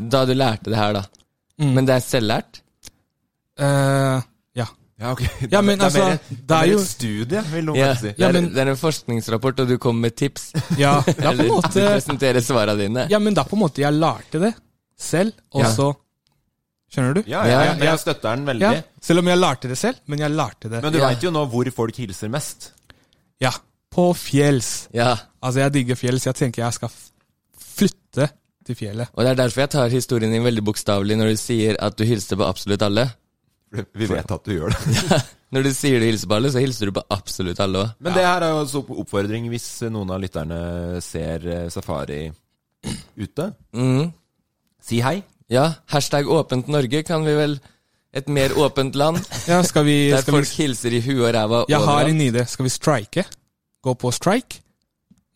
Speaker 7: Da du lærte det her, da.
Speaker 1: Mm.
Speaker 7: Men det er selvlært?
Speaker 1: Eh, ja.
Speaker 3: Ja, ok. Det,
Speaker 1: Ja, men
Speaker 3: det er
Speaker 1: altså,
Speaker 3: mer-
Speaker 1: det er
Speaker 3: mer
Speaker 1: jo-
Speaker 3: et studie, vil noen
Speaker 7: Ja,
Speaker 3: si.
Speaker 7: det,
Speaker 1: Ja,
Speaker 7: er,
Speaker 1: men-
Speaker 7: det er en forskningsrapport, og du kommer med tips.
Speaker 1: Ja, det er på
Speaker 7: Eller
Speaker 1: en
Speaker 7: du
Speaker 1: måte
Speaker 7: presenterer svarene dine.
Speaker 1: Ja, men da på en måte jeg lærte det selv, og
Speaker 7: Ja.
Speaker 1: så Skjønner du?
Speaker 3: Ja, ja, ja,
Speaker 7: Ja,
Speaker 3: men jeg støtter den veldig.
Speaker 1: Ja, selv om jeg lærte det selv, men jeg lærte det.
Speaker 3: Men du
Speaker 7: Ja.
Speaker 3: vet veit jo nå hvor folk hilser mest.
Speaker 1: Ja, på fjells.
Speaker 7: Ja,
Speaker 1: Altså, jeg digger fjells. Jeg tenker jeg skal f- flytte til fjellet.
Speaker 7: Og det er derfor jeg tar historien din veldig bokstavelig når du sier at du hilste på absolutt alle.
Speaker 3: Vi vet at du gjør det.
Speaker 7: Når du sier du hilser på alle, så hilser du på absolutt alle òg.
Speaker 3: Men det her er jo også opp- oppfordring hvis noen av lytterne ser eh, Safari ute.
Speaker 7: Mm.
Speaker 3: Si hei.
Speaker 7: Ja, hashtag åpent Norge kan vi vel Et mer åpent land,
Speaker 1: Ja, skal vi,
Speaker 7: der
Speaker 1: skal vi
Speaker 7: folk hilser i huet og ræva
Speaker 1: Jeg har
Speaker 7: overalt.
Speaker 1: en idé. Skal vi strike? Gå på strike?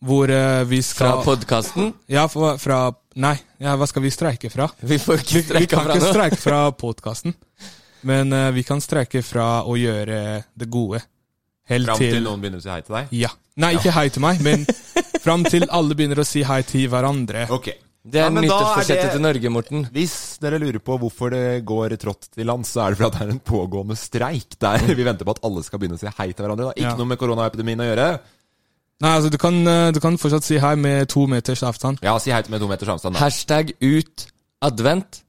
Speaker 1: Hvor eh, vi
Speaker 7: Fra
Speaker 1: skal
Speaker 7: podkasten.
Speaker 1: Ja, fra, fra Nei, ja, hva skal vi streike fra?
Speaker 7: Vi får ikke
Speaker 1: Vi
Speaker 7: streika
Speaker 1: kan
Speaker 7: fra
Speaker 1: ikke
Speaker 7: nå.
Speaker 1: streike fra podkasten, men eh, vi kan streike fra å gjøre det gode. Helt
Speaker 3: Fram til
Speaker 1: til
Speaker 3: noen begynner å si hei til deg.
Speaker 1: Ja. Nei, ikke hei til meg, men fram til alle begynner å si hei til hverandre.
Speaker 3: Ok.
Speaker 7: Det er
Speaker 3: Ja, men da
Speaker 7: nyttårsforsettet
Speaker 3: det-
Speaker 7: til Norge, Morten.
Speaker 3: Hvis dere lurer på hvorfor det går trått til land, så er det fordi det er en pågående streik der vi venter på at alle skal begynne å si hei til hverandre. Det har ikke
Speaker 1: Ja.
Speaker 3: noe med koronaepidemien å gjøre.
Speaker 1: Nei, altså, du kan, eh, du kan fortsatt si hei med to meters avstand.
Speaker 3: Ja, si hei til med to meters avstand, da.
Speaker 7: Hashtag ut advent.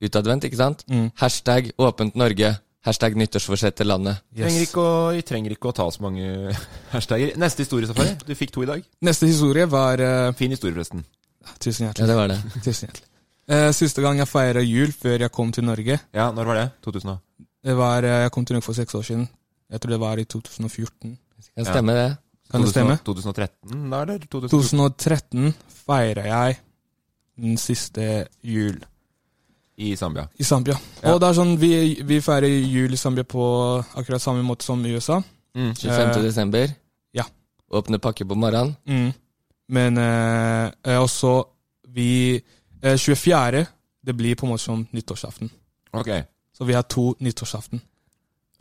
Speaker 7: Ut advent, ikke sant? Hashtag åpent Norge. Hashtag nyttårsforsett til landet.
Speaker 3: Trenger ikke å, vi trenger ikke å ta så mange hashtagger. Neste historie, Safari. Du fikk to i dag.
Speaker 1: Neste historie var eh,
Speaker 3: Fin historie, forresten.
Speaker 1: Tusen
Speaker 7: Ja,
Speaker 1: hjertelig.
Speaker 7: det var det.
Speaker 1: Tusen hjertelig. Eh, siste gang jeg feira jul før jeg kom til Norge,
Speaker 3: Ja, når var det? 2000 og
Speaker 1: det var eh, jeg kom til Norge for seks år siden. Jeg tror det var i 2014.
Speaker 4: Kan stemme det.
Speaker 1: Kan det stemme?
Speaker 3: 2013, da, eller? 2014.
Speaker 1: 2013 feira jeg den siste jul.
Speaker 3: I Zambia.
Speaker 1: I Zambia.
Speaker 3: Ja.
Speaker 1: Og det er sånn, vi, vi feirer jul i Zambia på akkurat samme måte som i USA.
Speaker 4: Mm. 25.
Speaker 1: Eh,
Speaker 4: desember.
Speaker 1: Ja.
Speaker 4: Åpne pakke på morgenen.
Speaker 1: Mm. Men eh, eh, også vi eh, 24. Det blir på en måte som nyttårsaften.
Speaker 3: Ok.
Speaker 1: Så vi har to nyttårsaften.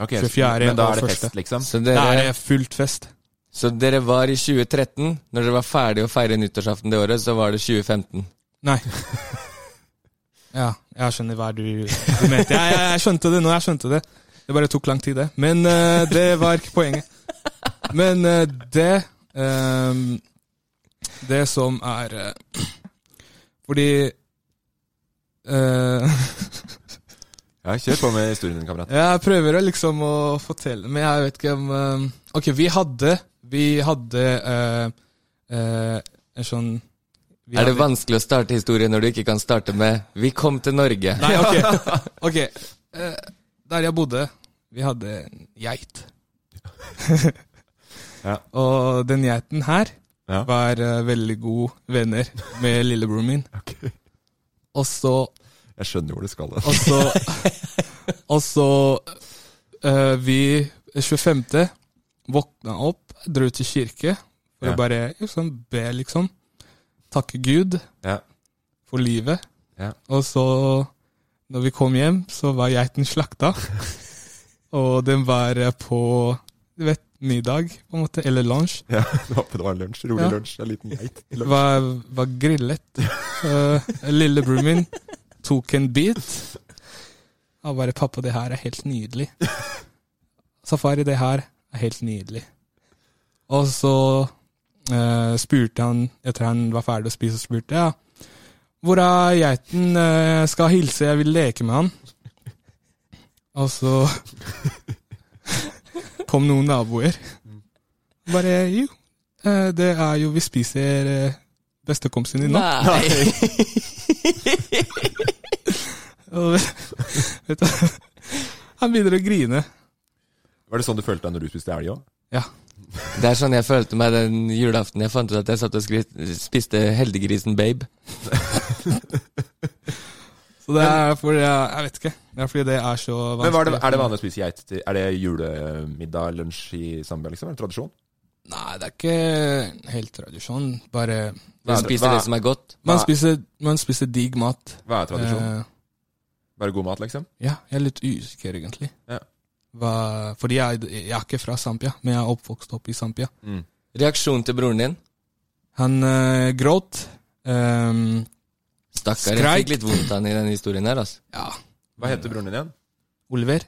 Speaker 3: Ok,
Speaker 1: 24.
Speaker 3: men da
Speaker 1: og
Speaker 3: er det
Speaker 1: første.
Speaker 3: fest, liksom?
Speaker 4: Så
Speaker 1: Da er
Speaker 4: dere,
Speaker 1: det fullt fest.
Speaker 4: så dere var i 2013. Når dere var ferdig å feire nyttårsaften det året, så var det 2015.
Speaker 1: Nei. ja, jeg skjønner hva du, du mente. Jeg, jeg, jeg skjønte det nå, jeg skjønte det. Det bare tok lang tid, det. Men eh, det var ikke poenget. Men eh, det ehm, Det som er eh, Fordi eh,
Speaker 3: Ja, kjør på med historien din, kamerat.
Speaker 1: Jeg prøver å liksom å fortelle, men jeg vet ikke om eh, Ok, vi hadde Vi hadde eh, eh, en sånn vi
Speaker 4: Er det
Speaker 1: hadde-
Speaker 4: vanskelig å starte historie når du ikke kan starte med 'Vi kom til Norge'?
Speaker 1: Nei, ok. ok. Eh, der jeg bodde, vi hadde en geit.
Speaker 3: Ja.
Speaker 1: Og den geiten her
Speaker 3: Ja.
Speaker 1: var eh, veldig gode venner med lillebroren min. Og så
Speaker 3: Jeg skjønner hvor du skal. altså.
Speaker 1: Og så, og så altså, eh, vi 25. våkna opp, dro til kirke for
Speaker 3: Ja.
Speaker 1: å bare liksom, be, liksom. Takke Gud
Speaker 3: Ja.
Speaker 1: for livet.
Speaker 3: Ja.
Speaker 1: Og så, når vi kom hjem, så var geiten slakta. og den var eh, på du vet, middag, på en måte, eller lunsj.
Speaker 3: Ja, det var, det var lunsj. Rolig
Speaker 1: Ja.
Speaker 3: lunsj. En liten geit. i lunsj.
Speaker 1: Var, var grillet. Uh, Lillebroren min tok en bit. Han bare 'Pappa, det her er helt nydelig'. Safari, det her er helt nydelig. Og så eh, spurte han, etter han var ferdig å spise, så spurte jeg ja, hvor er geiten? Eh, skal hilse, jeg vil leke med han. Og så kom noen naboer. Bare jo, eh, det er jo vi spiser eh, bestekompisen din nå. Og vet du, han begynner å grine.
Speaker 3: Var det sånn du følte deg når du spiste elg òg?
Speaker 1: Ja.
Speaker 4: Det er sånn jeg følte meg den julaften jeg fant ut at jeg satt og skri- spiste Heldiggrisen Babe.
Speaker 1: Så det er fordi jeg, jeg vet ikke. Det er fordi det er så vanskelig.
Speaker 3: Men var det, Er det vanlig å spise geit? til- Er det julemiddag, lunsj i Zambia, liksom? Er det tradisjon?
Speaker 1: Nei, det er ikke helt tradisjon. Bare
Speaker 3: Hva er- spiser hva- det som er godt.
Speaker 1: Man
Speaker 3: Hva-
Speaker 1: spiser, man spiser digg mat.
Speaker 3: Hva er tradisjon?
Speaker 1: Eh,
Speaker 3: Bare god mat, liksom?
Speaker 1: ja, jeg er litt usikker, egentlig.
Speaker 3: Ja.
Speaker 1: Hva, fordi jeg, jeg er ikke fra Zampia, men jeg er oppvokst opp i Zampia.
Speaker 4: Reaksjon til broren din?
Speaker 1: Han eh, gråt. Um,
Speaker 4: Stakkar, jeg fikk litt vondt av han i den historien her, altså.
Speaker 1: Ja.
Speaker 3: Hva heter broren din igjen?
Speaker 1: Oliver.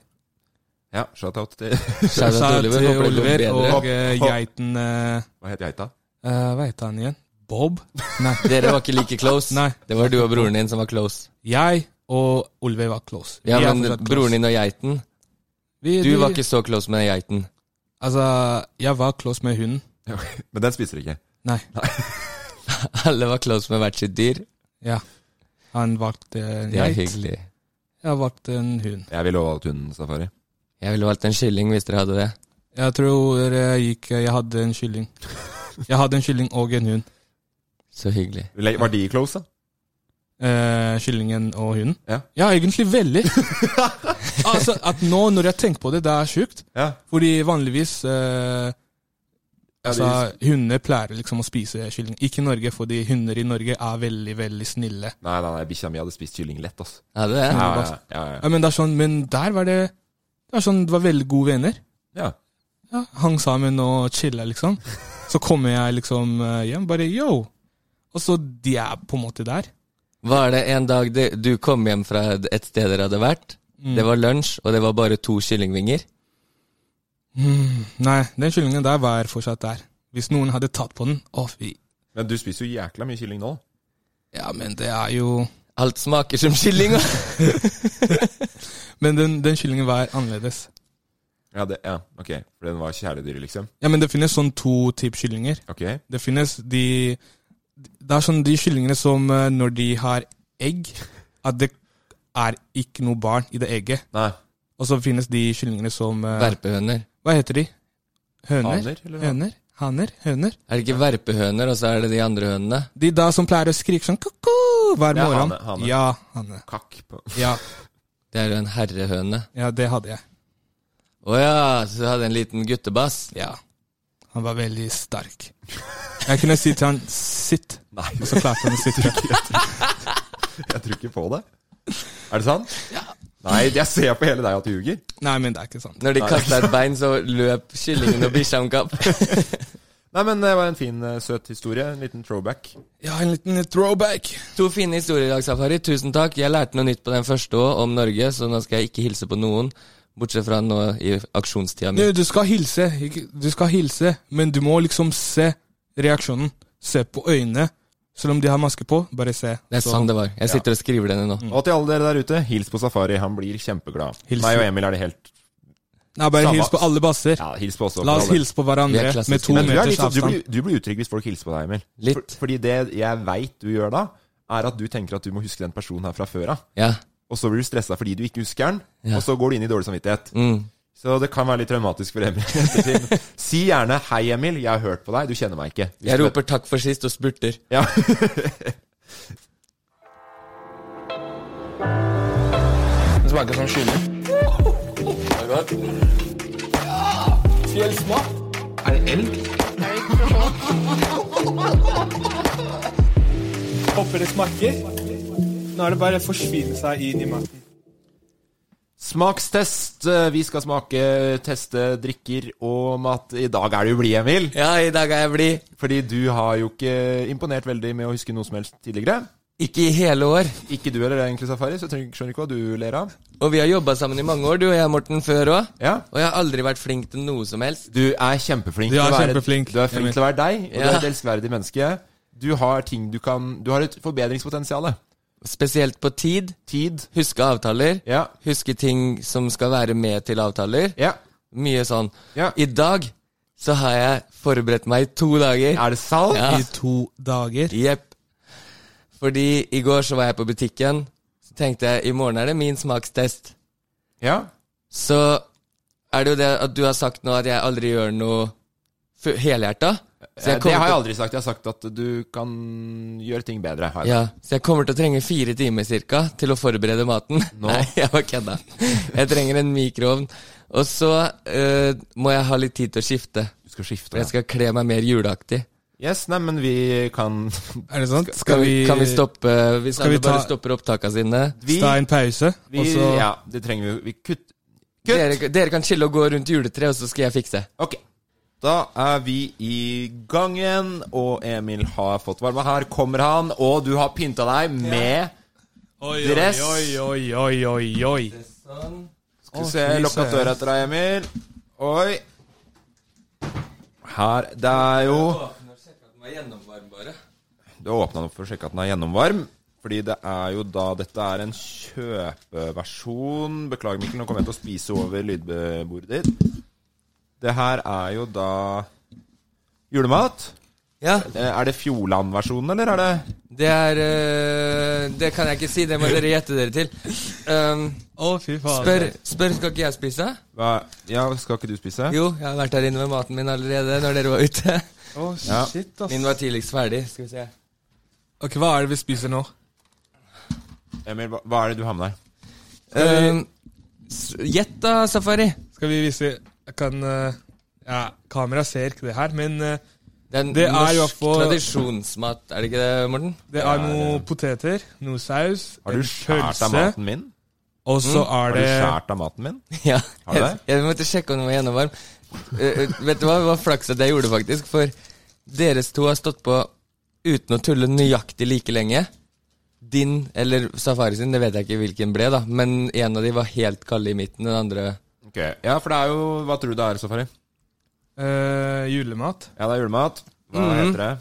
Speaker 3: Ja, shout-out til
Speaker 1: Sa til Oliver, og eh,
Speaker 3: Hopp, hopp.
Speaker 1: geiten eh,
Speaker 3: Hva heter geita?
Speaker 1: eh, Hva heter han igjen? Bob? Nei.
Speaker 4: Dere var ikke like close.
Speaker 1: Nei.
Speaker 4: Det var du og broren din som var close.
Speaker 1: Jeg og Oliver var close.
Speaker 4: Ja,
Speaker 1: Vi er
Speaker 4: men
Speaker 1: fortsatt close.
Speaker 4: broren din og geiten
Speaker 1: Vi-
Speaker 4: Du
Speaker 1: de-
Speaker 4: var ikke så close med den geiten.
Speaker 1: Altså, jeg var close med hunden.
Speaker 3: Ja, ok. Men den spiser ikke?
Speaker 1: Nei.
Speaker 4: Alle var close med hvert sitt dyr.
Speaker 1: Ja. Han valgte en
Speaker 4: Det er
Speaker 1: geit.
Speaker 4: hyggelig.
Speaker 1: Jeg valgte en hund.
Speaker 3: Jeg ville valgt hunden safari.
Speaker 4: Jeg ville valgt en kylling hvis dere hadde det.
Speaker 1: Jeg tror jeg gikk Jeg hadde en kylling. Jeg hadde en kylling og en hund.
Speaker 4: Så hyggelig.
Speaker 3: Le- Var de close, da?
Speaker 1: Eh, kyllingen og hunden?
Speaker 3: Ja.
Speaker 1: egentlig veldig. altså, at nå når jeg tenker på det, det er sjukt.
Speaker 3: Ja.
Speaker 1: Fordi vanligvis eh, Altså,
Speaker 3: Ja,
Speaker 1: Hunder pleier liksom å spise kylling. Ikke i Norge, fordi hunder i Norge er veldig, veldig snille.
Speaker 3: Nei, nei, nei bikkja mi hadde spist kylling lett, ass.
Speaker 4: Hadde det?
Speaker 3: Ja, ja, ja, ja.
Speaker 1: Ja, men, det er sånn, men der var det Det var sånn, det var veldig gode venner.
Speaker 3: ja.
Speaker 1: ja, hang sammen og chilla, liksom. Så kommer jeg liksom eh, hjem, bare yo! Og så de er på en måte der.
Speaker 4: Var det en dag det- du kom hjem fra et sted dere hadde vært?
Speaker 1: Mm.
Speaker 4: Det var lunsj, og det var bare to kyllingvinger.
Speaker 1: Mm, nei, den kyllingen der var fortsatt der. Hvis noen hadde tatt på den Å, fy.
Speaker 3: Men du spiser jo jækla mye kylling nå.
Speaker 1: Ja, men det er jo
Speaker 4: Alt smaker som kylling. ass.
Speaker 1: Men den, den kyllingen var annerledes.
Speaker 3: Ja, det, ja, ok. For den var kjæledyr, liksom.
Speaker 1: Ja, men det finnes sånn to typer kyllinger.
Speaker 3: Ok.
Speaker 1: Det finnes de Det er sånn de kyllingene som eh, når de har egg, at det er ikke noe barn i det egget.
Speaker 3: Nei.
Speaker 1: Og Og så finnes de kyllingene som eh,
Speaker 4: Verpehøner.
Speaker 1: Hva heter de? Høner?
Speaker 4: Haner, eller hva?
Speaker 1: Høner? Haner? Høner?
Speaker 4: Er det ikke verpehøner, og så er det de andre hønene?
Speaker 1: De da som pleier å skrike sånn ko-ko hver
Speaker 4: Det er
Speaker 1: morgen.
Speaker 4: hane, hane.
Speaker 1: Ja, hane.
Speaker 3: Kakk på
Speaker 1: Ja.
Speaker 4: Det er jo en herrehøne.
Speaker 1: ja, det hadde jeg.
Speaker 4: Å ja, så du hadde en liten guttebass?
Speaker 1: Ja. Han var veldig sterk. Jeg kunne si til han 'sitt', og så klarte han å sitte.
Speaker 3: Jeg tror ikke på det. Er det sant? Nei, jeg ser på hele deg at du ljuger.
Speaker 1: Nei, men det er ikke sant.
Speaker 4: Når de
Speaker 3: Nei.
Speaker 4: kasta et bein, så løp kyllingen og bikkja om kapp.
Speaker 3: Nei, men det var en fin, eh, søt historie. En liten throwback.
Speaker 1: Ja, en liten eh, throwback.
Speaker 4: To fine historier i dag, Safari. Tusen takk. Jeg lærte noe nytt på den første òg, om Norge, så nå skal jeg ikke hilse på noen. Bortsett fra nå i aksjonstida mi.
Speaker 1: Nei, du skal hilse, ikke- du skal hilse, men du må liksom se reaksjonen. Se på øynene. Selv om de har maske på, bare se.
Speaker 4: Det er
Speaker 1: Så-
Speaker 4: sånn det var. Jeg sitter og skriver det ned nå.
Speaker 1: Mm.
Speaker 3: Og til alle dere der ute, hils på Safari. Han blir kjempeglad.
Speaker 1: Hils-
Speaker 3: Meg og Emil er det helt
Speaker 1: Nei, bare
Speaker 3: Samme.
Speaker 1: hils på alle basser.
Speaker 3: Ja, hils på oss også.
Speaker 1: La oss
Speaker 3: Alle.
Speaker 1: hilse på hverandre med to
Speaker 3: Men du er
Speaker 1: meters
Speaker 3: litt sånn-
Speaker 1: avstand.
Speaker 3: Du blir, du blir utrygg hvis folk hilser på deg, Emil. For, fordi det jeg veit du gjør da, er at du tenker at du må huske den personen her fra før av.
Speaker 4: Ja.
Speaker 3: Og så blir du stressa fordi du ikke husker den,
Speaker 4: Ja.
Speaker 3: og så går du inn i dårlig samvittighet.
Speaker 4: Mm.
Speaker 3: Så det kan være litt traumatisk for Emil. i ettertid. si gjerne 'Hei, Emil, jeg har hørt på deg. Du kjenner meg ikke'. Hvis
Speaker 4: Jeg
Speaker 3: du-
Speaker 4: roper 'takk for sist' og spurter.
Speaker 3: Ja.
Speaker 8: Det smaker som kylling.
Speaker 9: Fjellsmak.
Speaker 8: Er det elg?
Speaker 10: Håper det smaker. Nå er det bare å forsvinne seg inn i maten.
Speaker 3: Smakstest. Eh, Vi skal smake, teste drikker og mat. I dag er du blid, Emil.
Speaker 4: Ja, i dag er jeg blid.
Speaker 3: Fordi du har jo ikke imponert veldig med å huske noe som helst tidligere.
Speaker 4: Ikke i hele år.
Speaker 3: Ikke du heller, egentlig, Safari, så jeg trenger- skjønner ikke hva du ler av.
Speaker 4: Og vi har jobba sammen i mange år, du og jeg, Morten, før òg.
Speaker 3: Ja.
Speaker 4: Og jeg har aldri vært flink til noe som helst.
Speaker 3: Du er kjempeflink.
Speaker 1: Du er
Speaker 3: til å være-
Speaker 1: kjempeflink,
Speaker 3: Du er flink
Speaker 1: Emil.
Speaker 3: til å være deg, og du
Speaker 4: Ja.
Speaker 3: er et elskverdig menneske. Du har ting du kan Du har et forbedringspotensial.
Speaker 4: Spesielt på tid.
Speaker 3: Tid.
Speaker 4: Huske avtaler.
Speaker 3: Ja.
Speaker 4: Huske ting som skal være med til avtaler.
Speaker 3: Ja.
Speaker 4: Mye sånn.
Speaker 3: Ja.
Speaker 4: I dag så har jeg forberedt meg i to dager.
Speaker 3: Er det sant?
Speaker 4: Ja.
Speaker 1: I to dager.
Speaker 4: Jepp. Fordi i går så var jeg på butikken. Så tenkte jeg i morgen er det min smakstest.
Speaker 3: Ja.
Speaker 4: Så er det jo det at du har sagt nå at jeg aldri gjør noe fu- helhjerta. Så
Speaker 3: Eh,
Speaker 4: jeg
Speaker 3: Det
Speaker 4: kommer
Speaker 3: har jeg
Speaker 4: til-
Speaker 3: aldri sagt. Jeg har sagt at du kan gjøre ting bedre. Har jeg
Speaker 4: Ja, så jeg kommer til å trenge fire timer cirka til å forberede maten. Nei, jeg var kødda. Jeg trenger en mikroovn. Og så eh, må jeg ha litt tid til å skifte.
Speaker 3: Du skal skifte,
Speaker 4: For jeg skal kle meg mer juleaktig.
Speaker 3: Yes, nei, men vi kan
Speaker 1: Er det sant?
Speaker 4: Skal vi, kan vi stoppe Hvis
Speaker 1: Skal vi
Speaker 4: alle bare
Speaker 1: ta-
Speaker 4: stopper opptaka sine
Speaker 3: Vi-
Speaker 1: Ta en pause,
Speaker 3: vi,
Speaker 1: og så
Speaker 3: Ja, det trenger vi Vi kutt.
Speaker 4: Dere, dere kan chille og gå rundt juletreet, og så skal jeg fikse.
Speaker 3: Ok. Da er vi i gangen, og Emil har fått varme. Her kommer han, og du har pynta deg med
Speaker 1: Oi,
Speaker 3: dress.
Speaker 1: Oi, oi, oi, oi, oi.
Speaker 3: Skal vi se, lukk opp døra etter deg, Emil. Oi. Her Det er jo Du har åpna den opp for å sjekke at den er gjennomvarm. Fordi det er jo da Dette er en kjøpeversjon. Beklager, Mikkel, nå kommer jeg til å spise over lydbordet ditt. Det her er jo da julemat.
Speaker 4: Ja.
Speaker 3: Eh, Er det Fjordland-versjonen, eller er det
Speaker 4: Det er eh, Det kan jeg ikke si, det må dere gjette dere til. Um,
Speaker 1: fy
Speaker 4: spør, spør, skal ikke jeg spise?
Speaker 3: hva? Ja, skal ikke du spise?
Speaker 4: Jo, jeg har vært her inne med maten min allerede når dere var ute.
Speaker 1: Å,
Speaker 3: Ja.
Speaker 1: shit, ass.
Speaker 4: Min var tidligst ferdig. Skal vi se.
Speaker 1: Ok, hva er det vi spiser nå?
Speaker 3: Emil, hva- hva er det du har med deg?
Speaker 4: Um, s- Gjett da, Safari.
Speaker 1: Skal vi vise Jeg kan eh, Ja, kamera ser ikke det her, men eh,
Speaker 4: Det er,
Speaker 1: Det er
Speaker 4: norsk
Speaker 1: i hvert fall-
Speaker 4: tradisjonsmat, er det ikke det, Morten?
Speaker 1: det er noe poteter, noe saus,
Speaker 3: Har du
Speaker 1: en
Speaker 3: skåret
Speaker 1: pølse,
Speaker 3: av maten min?
Speaker 1: og så
Speaker 4: Mm.
Speaker 3: Har
Speaker 1: er
Speaker 3: du
Speaker 1: det
Speaker 3: skåret av maten min?
Speaker 4: Ja.
Speaker 3: Har du
Speaker 4: Jeg,
Speaker 3: det?
Speaker 4: jeg måtte sjekke om den var gjennomvarm. Eh, eh, vet du hva, det var flaks at jeg gjorde det, faktisk. For deres to har stått på uten å tulle nøyaktig like lenge. Din, eller Safari sin, det vet jeg ikke hvilken ble, da. Men en av de var helt kalde i midten, den andre
Speaker 3: Ok, Ja, for det er jo Hva tror du det er, Safari?
Speaker 1: eh, julemat.
Speaker 3: Ja, det er julemat. Hva
Speaker 1: Mhm.
Speaker 3: heter det?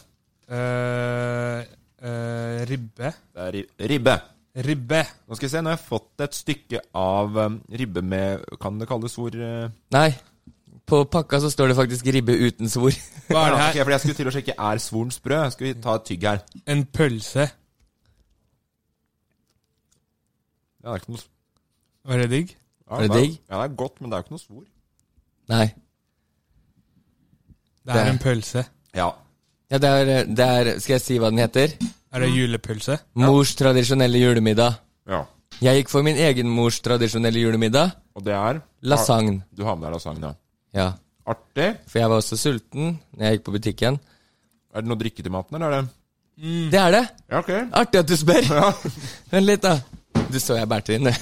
Speaker 1: eh, eh, ribbe.
Speaker 3: Det er ri- ribbe.
Speaker 1: Ribbe.
Speaker 3: Nå skal vi se, nå har jeg fått et stykke av um, ribbe med Kan det kalles hvor eh,
Speaker 4: Nei. På pakka så står det faktisk ribbe uten svor.
Speaker 1: Hva er
Speaker 3: ja,
Speaker 1: det her?
Speaker 3: ok, fordi Jeg skulle til å sjekke er svoren sprø. Skal vi ta et tygg her?
Speaker 1: En pølse.
Speaker 3: Ja, det er ikke noe s-
Speaker 1: Var det digg?
Speaker 3: Ja,
Speaker 4: er det digg?
Speaker 3: Ja, det er godt, men det er jo ikke noe svor.
Speaker 4: Nei.
Speaker 1: Det er en pølse.
Speaker 3: Ja.
Speaker 4: Ja, det er, det er Skal jeg si hva den heter?
Speaker 1: Er det
Speaker 3: Mm.
Speaker 1: julepølse?
Speaker 4: Mors tradisjonelle julemiddag.
Speaker 3: Ja.
Speaker 4: Jeg gikk for min egen mors tradisjonelle julemiddag.
Speaker 3: Og det er?
Speaker 4: Lasagne.
Speaker 3: Du har med deg lasagne, ja.
Speaker 4: Ja.
Speaker 3: Artig.
Speaker 4: For jeg var også sulten når jeg gikk på butikken.
Speaker 3: Er det noe å drikke til maten, eller er det
Speaker 4: Det er det!
Speaker 3: Ja, ok.
Speaker 4: Artig at du spør! Vent litt, da. Du så jeg bærte inn, det.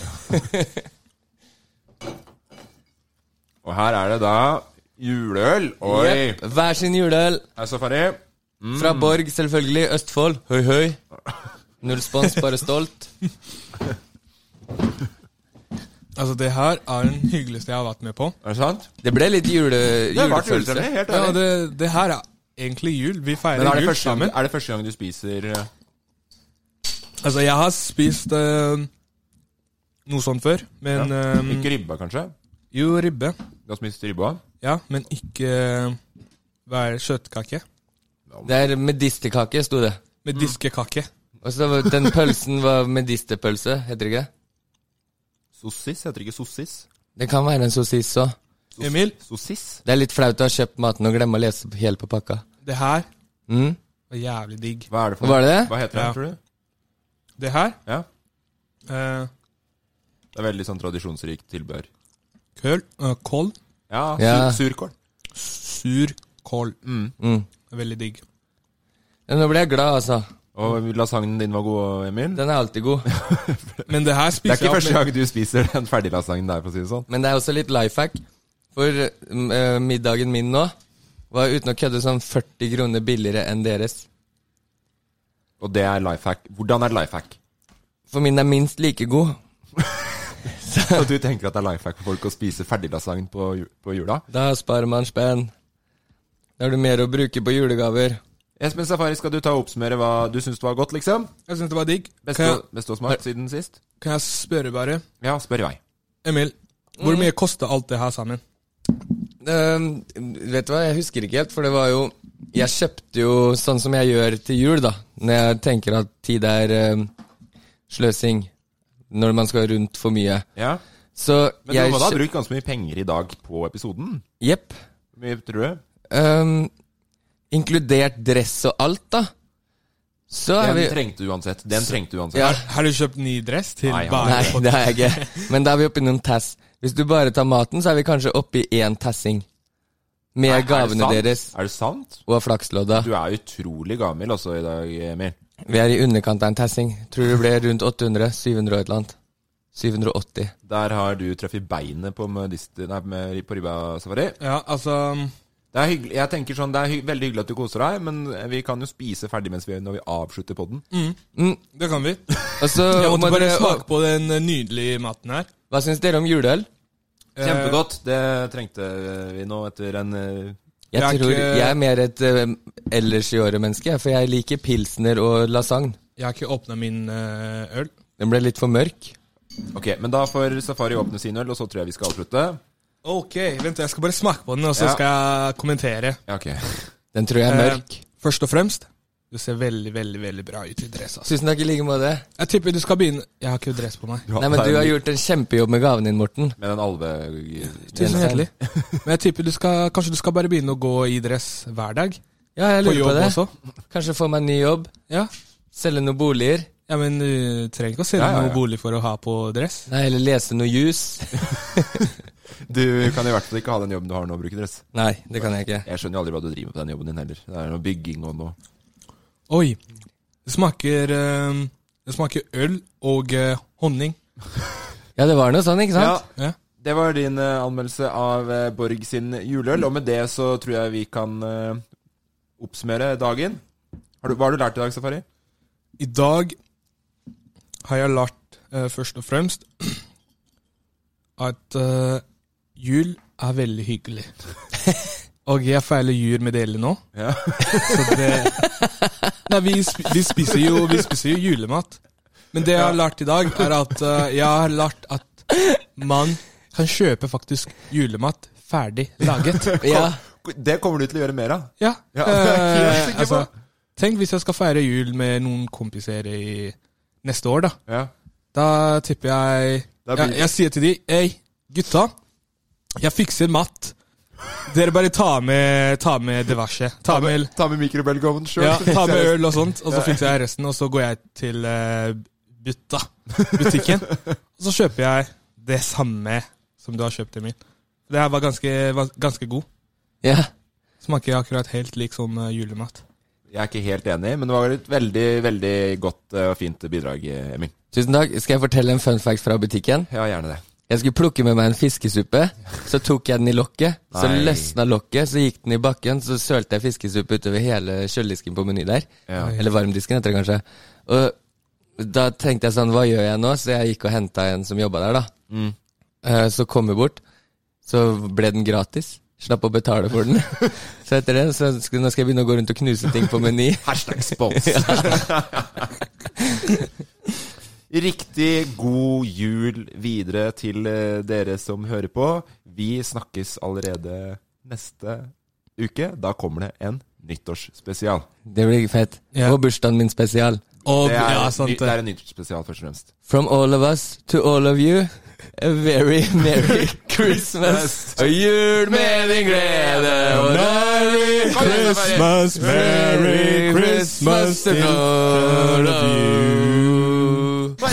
Speaker 3: Og her er det da juleøl. Oi!
Speaker 4: Jepp, Hver sin juleøl.
Speaker 3: Er safari. Mm.
Speaker 4: Fra Borg, selvfølgelig. Østfold. Høy, høy. Null spons, bare stolt.
Speaker 1: Altså, det her er den hyggeligste jeg har vært med på.
Speaker 3: Er det sant?
Speaker 4: Det ble litt jule,
Speaker 3: Det har vært
Speaker 4: julefølelse.
Speaker 3: julestemning, helt
Speaker 1: Ja,
Speaker 3: ærlig.
Speaker 1: det, det her er egentlig jul. Vi feirer
Speaker 3: Men er det,
Speaker 1: jul
Speaker 3: første gang,
Speaker 1: sammen.
Speaker 3: er det første gang du spiser eh,
Speaker 1: Altså, jeg har spist eh, noe sånt før, men
Speaker 3: ja.
Speaker 1: eh,
Speaker 3: Ikke ribba, kanskje?
Speaker 1: Jo, ribbe.
Speaker 3: Du har spist ribba?
Speaker 1: Ja, men ikke eh, Hva er det? Kjøttkake?
Speaker 4: Det er medisterkake, sto det.
Speaker 3: Mm.
Speaker 1: Med diskekake.
Speaker 4: Og så var- den pølsen var medisterpølse, heter det ikke? det?
Speaker 3: Sossis? Heter det ikke sossis?
Speaker 4: Det kan være en sossis òg.
Speaker 3: Sos-
Speaker 1: Emil?
Speaker 3: Sossis?
Speaker 4: Det er litt flaut å ha kjøpt maten og glemme å lese helt på pakka.
Speaker 1: Det her
Speaker 4: Mm.
Speaker 1: var jævlig digg.
Speaker 3: Hva er det for
Speaker 4: Var det det?
Speaker 3: Hva heter
Speaker 1: Ja.
Speaker 3: det, tror du?
Speaker 1: Det her
Speaker 3: Ja.
Speaker 1: eh,
Speaker 3: Det er veldig sånn tradisjonsrikt tilbehør.
Speaker 1: Køl eh, Kål.
Speaker 3: Ja,
Speaker 4: Ja.
Speaker 3: Sur, surkål.
Speaker 1: Sur kål.
Speaker 4: Mm.
Speaker 1: Veldig digg.
Speaker 4: Ja, nå ble jeg glad, altså.
Speaker 3: Og lasagnen din var god, Emil?
Speaker 4: Den er alltid god.
Speaker 1: Men det her
Speaker 3: Det er
Speaker 1: spiser
Speaker 3: ikke
Speaker 1: jeg
Speaker 3: første gang du spiser den ferdige lasagnen der, for å si det sånn.
Speaker 4: Men det er også litt life hack. For mm, eh, middagen min nå var uten å kødde sånn 40 kroner billigere enn deres.
Speaker 3: Og det er life hack. Hvordan er life hack?
Speaker 4: For min er minst like god.
Speaker 3: Så du tenker at det er life hack for folk å spise ferdig lasagne på, ju- på jula?
Speaker 4: Da sparer man spenn. Da har du mer å bruke på julegaver.
Speaker 3: Espen Safari, skal du ta og oppsummere hva du syns var godt, liksom?
Speaker 1: Jeg syns det var digg.
Speaker 3: Beste,
Speaker 1: Kan jeg,
Speaker 3: beste og smakt siden sist?
Speaker 1: kan jeg spørre bare
Speaker 3: Ja, spør i vei.
Speaker 1: Emil,
Speaker 3: Mm.
Speaker 1: hvor mye koster alt det her sammen?
Speaker 4: Ehm, vet du hva, jeg husker ikke helt, for det var jo Jeg kjøpte jo sånn som jeg gjør til jul, da. Når jeg tenker at tid er ehm, sløsing. Når man skal rundt for mye.
Speaker 3: Ja.
Speaker 4: Så
Speaker 3: Men
Speaker 4: jeg
Speaker 3: du må da ha
Speaker 4: kjø-
Speaker 3: brukt ganske mye penger i dag på episoden.
Speaker 4: Jepp.
Speaker 3: Hvor mye tror du?
Speaker 4: Ehm, inkludert dress og alt, da. Så er
Speaker 3: Den
Speaker 4: vi
Speaker 3: trengte du uansett. Den trengte du uansett.
Speaker 4: Ja.
Speaker 1: Har du kjøpt ny dress til
Speaker 3: Nei, han-
Speaker 1: bare
Speaker 4: Nei, det er jeg ikke. Men da er vi oppe i noen tass. Hvis du bare tar maten, så er vi kanskje oppe i én tassing. Med
Speaker 3: Er det
Speaker 4: gavene
Speaker 3: sant?
Speaker 4: deres
Speaker 3: Er det sant?
Speaker 4: og flakslodda.
Speaker 3: Du er utrolig gavmild også i dag, Emil.
Speaker 4: Vi er i underkant av en tassing. Tror det ble rundt 800? 700 og et eller annet. 780.
Speaker 3: Der har du treffet beinet på, modist- nei, med- på ribba safari.
Speaker 1: Ja, altså
Speaker 3: Det er hyggelig, jeg tenker sånn, det er hy veldig hyggelig at du koser deg, men vi kan jo spise ferdig mens vi, når vi avslutter podden.
Speaker 4: Mm.
Speaker 1: Det kan vi.
Speaker 4: Og så
Speaker 1: Jeg måtte
Speaker 4: må
Speaker 1: bare
Speaker 4: dere-
Speaker 1: smake på den eh, nydelige maten her.
Speaker 4: Hva syns dere om juleøl?
Speaker 3: Kjempegodt. Det trengte vi nå etter en eh,
Speaker 4: Jeg
Speaker 1: Jeg er
Speaker 4: tror
Speaker 1: ikke-
Speaker 4: jeg er mer et eh, ellers i året-menneske, for jeg liker pilsner og lasagne.
Speaker 1: Jeg har ikke åpna min eh, øl.
Speaker 4: Den ble litt for mørk.
Speaker 3: Ok, men da får Safari åpne sin øl, og så tror jeg vi skal avslutte.
Speaker 1: Ok, vent, jeg skal bare smake på den, og så
Speaker 3: Ja.
Speaker 1: skal jeg kommentere.
Speaker 3: Ja, ok.
Speaker 4: Den tror jeg er
Speaker 1: Eh,
Speaker 4: mørk.
Speaker 1: Først og fremst, du ser veldig, veldig veldig bra ut i dress. ass.
Speaker 4: Tusen takk i like måte.
Speaker 1: Jeg tipper du skal begynne Jeg har ikke dress på meg.
Speaker 4: Nei, men du har gjort en kjempejobb med gaven din, Morten.
Speaker 3: Med den alve...
Speaker 1: Tusen
Speaker 4: Gjennom.
Speaker 1: hjertelig. Men jeg tipper du skal Kanskje du skal bare begynne å gå i dress hver dag?
Speaker 4: Ja, jeg
Speaker 1: På
Speaker 4: lurer på,
Speaker 1: jobb
Speaker 4: det.
Speaker 1: også?
Speaker 4: Kanskje få meg en ny jobb.
Speaker 1: Ja.
Speaker 4: Selge noen boliger.
Speaker 1: ja, men eh, du trenger ikke å selge
Speaker 3: Ja, ja, ja.
Speaker 1: noe bolig for å ha på dress.
Speaker 4: Nei, eller lese noe jus.
Speaker 3: Du kan i hvert fall ikke ha den jobben du har nå, bruke dress.
Speaker 4: Nei, det kan jeg ikke.
Speaker 3: Jeg skjønner jo aldri hva du driver med på den jobben din heller. Det er noe bygging og noe...
Speaker 1: Oi. Det smaker eh, Det smaker øl og eh, honning.
Speaker 4: Ja, det var noe sånn, ikke sant?
Speaker 1: Ja.
Speaker 3: Det var din eh, anmeldelse av eh, Borg sin juleøl, og med det så tror jeg vi kan eh, oppsummere dagen. Har du, hva har du lært i dag, Safari?
Speaker 1: I dag har jeg lært eh, først og fremst at eh, jul er veldig hyggelig. Og jeg feiler jul med dere nå.
Speaker 3: Ja.
Speaker 1: Så det Nei, vi, sp- vi, spiser jo, vi spiser jo julemat. Men det jeg har lært i dag, er at eh, jeg har lært at man kan kjøpe faktisk julemat ferdig laget.
Speaker 4: Ja.
Speaker 3: Det kommer du til å gjøre mer av.
Speaker 1: Ja.
Speaker 3: Ja, det er jeg helt
Speaker 1: eh,
Speaker 3: sikker på.
Speaker 1: altså, tenk hvis jeg skal feire jul med noen kompiser i neste år, da.
Speaker 3: Ja.
Speaker 1: Da tipper jeg
Speaker 3: Da
Speaker 1: jeg,
Speaker 3: blir-
Speaker 1: jeg sier til de Ei, Gutta, jeg fikser matt. Dere bare tar med, ta med diverse. Ta med,
Speaker 11: ta med mikrobølgeovnen sjøl.
Speaker 1: Ja, ta med øl og sånt, og så fikser jeg resten. Og så går jeg til eh, Butta, butikken. Og så kjøper jeg det samme som du har kjøpt, Emil. Det her var ganske, var ganske god.
Speaker 4: Ja.
Speaker 1: Smaker akkurat helt lik som eh, julemat.
Speaker 11: Jeg er ikke helt enig, men det var et veldig veldig godt eh, og fint bidrag, eh, Emil.
Speaker 4: Tusen takk. Skal jeg fortelle en fun fact fra butikken?
Speaker 11: Ja, gjerne det.
Speaker 4: Jeg skulle plukke med meg en fiskesuppe. Så tok jeg den i lokket. Så
Speaker 11: Nei.
Speaker 4: løsna lokket, så gikk den i bakken. Så sølte jeg fiskesuppe utover hele kjøledisken på Meny der.
Speaker 11: Ja.
Speaker 4: Eller varmdisken, heter det kanskje. Og da tenkte jeg sånn, hva gjør jeg nå? Så jeg gikk og henta en som jobba der, da.
Speaker 11: Mm.
Speaker 4: Eh, Så kom jeg bort. Så ble den gratis. Slapp å betale for den. så etter det, så skal, nå skal jeg begynne å gå rundt og knuse ting på Meny.
Speaker 11: Hashtag spons. Riktig god jul videre til eh, dere som hører på. Vi snakkes allerede neste uke. Da kommer det en nyttårsspesial.
Speaker 4: Det blir fett. Og bursdagen min spesial.
Speaker 11: det, er, ny- det er en nyttårsspesial, først og fremst.
Speaker 4: From all of us to all of you, a very merry Christmas. Og jul med din glede og merry
Speaker 11: Kom igjen, da,
Speaker 4: Christmas,
Speaker 11: Marie.
Speaker 4: merry Christmas to all of you. Og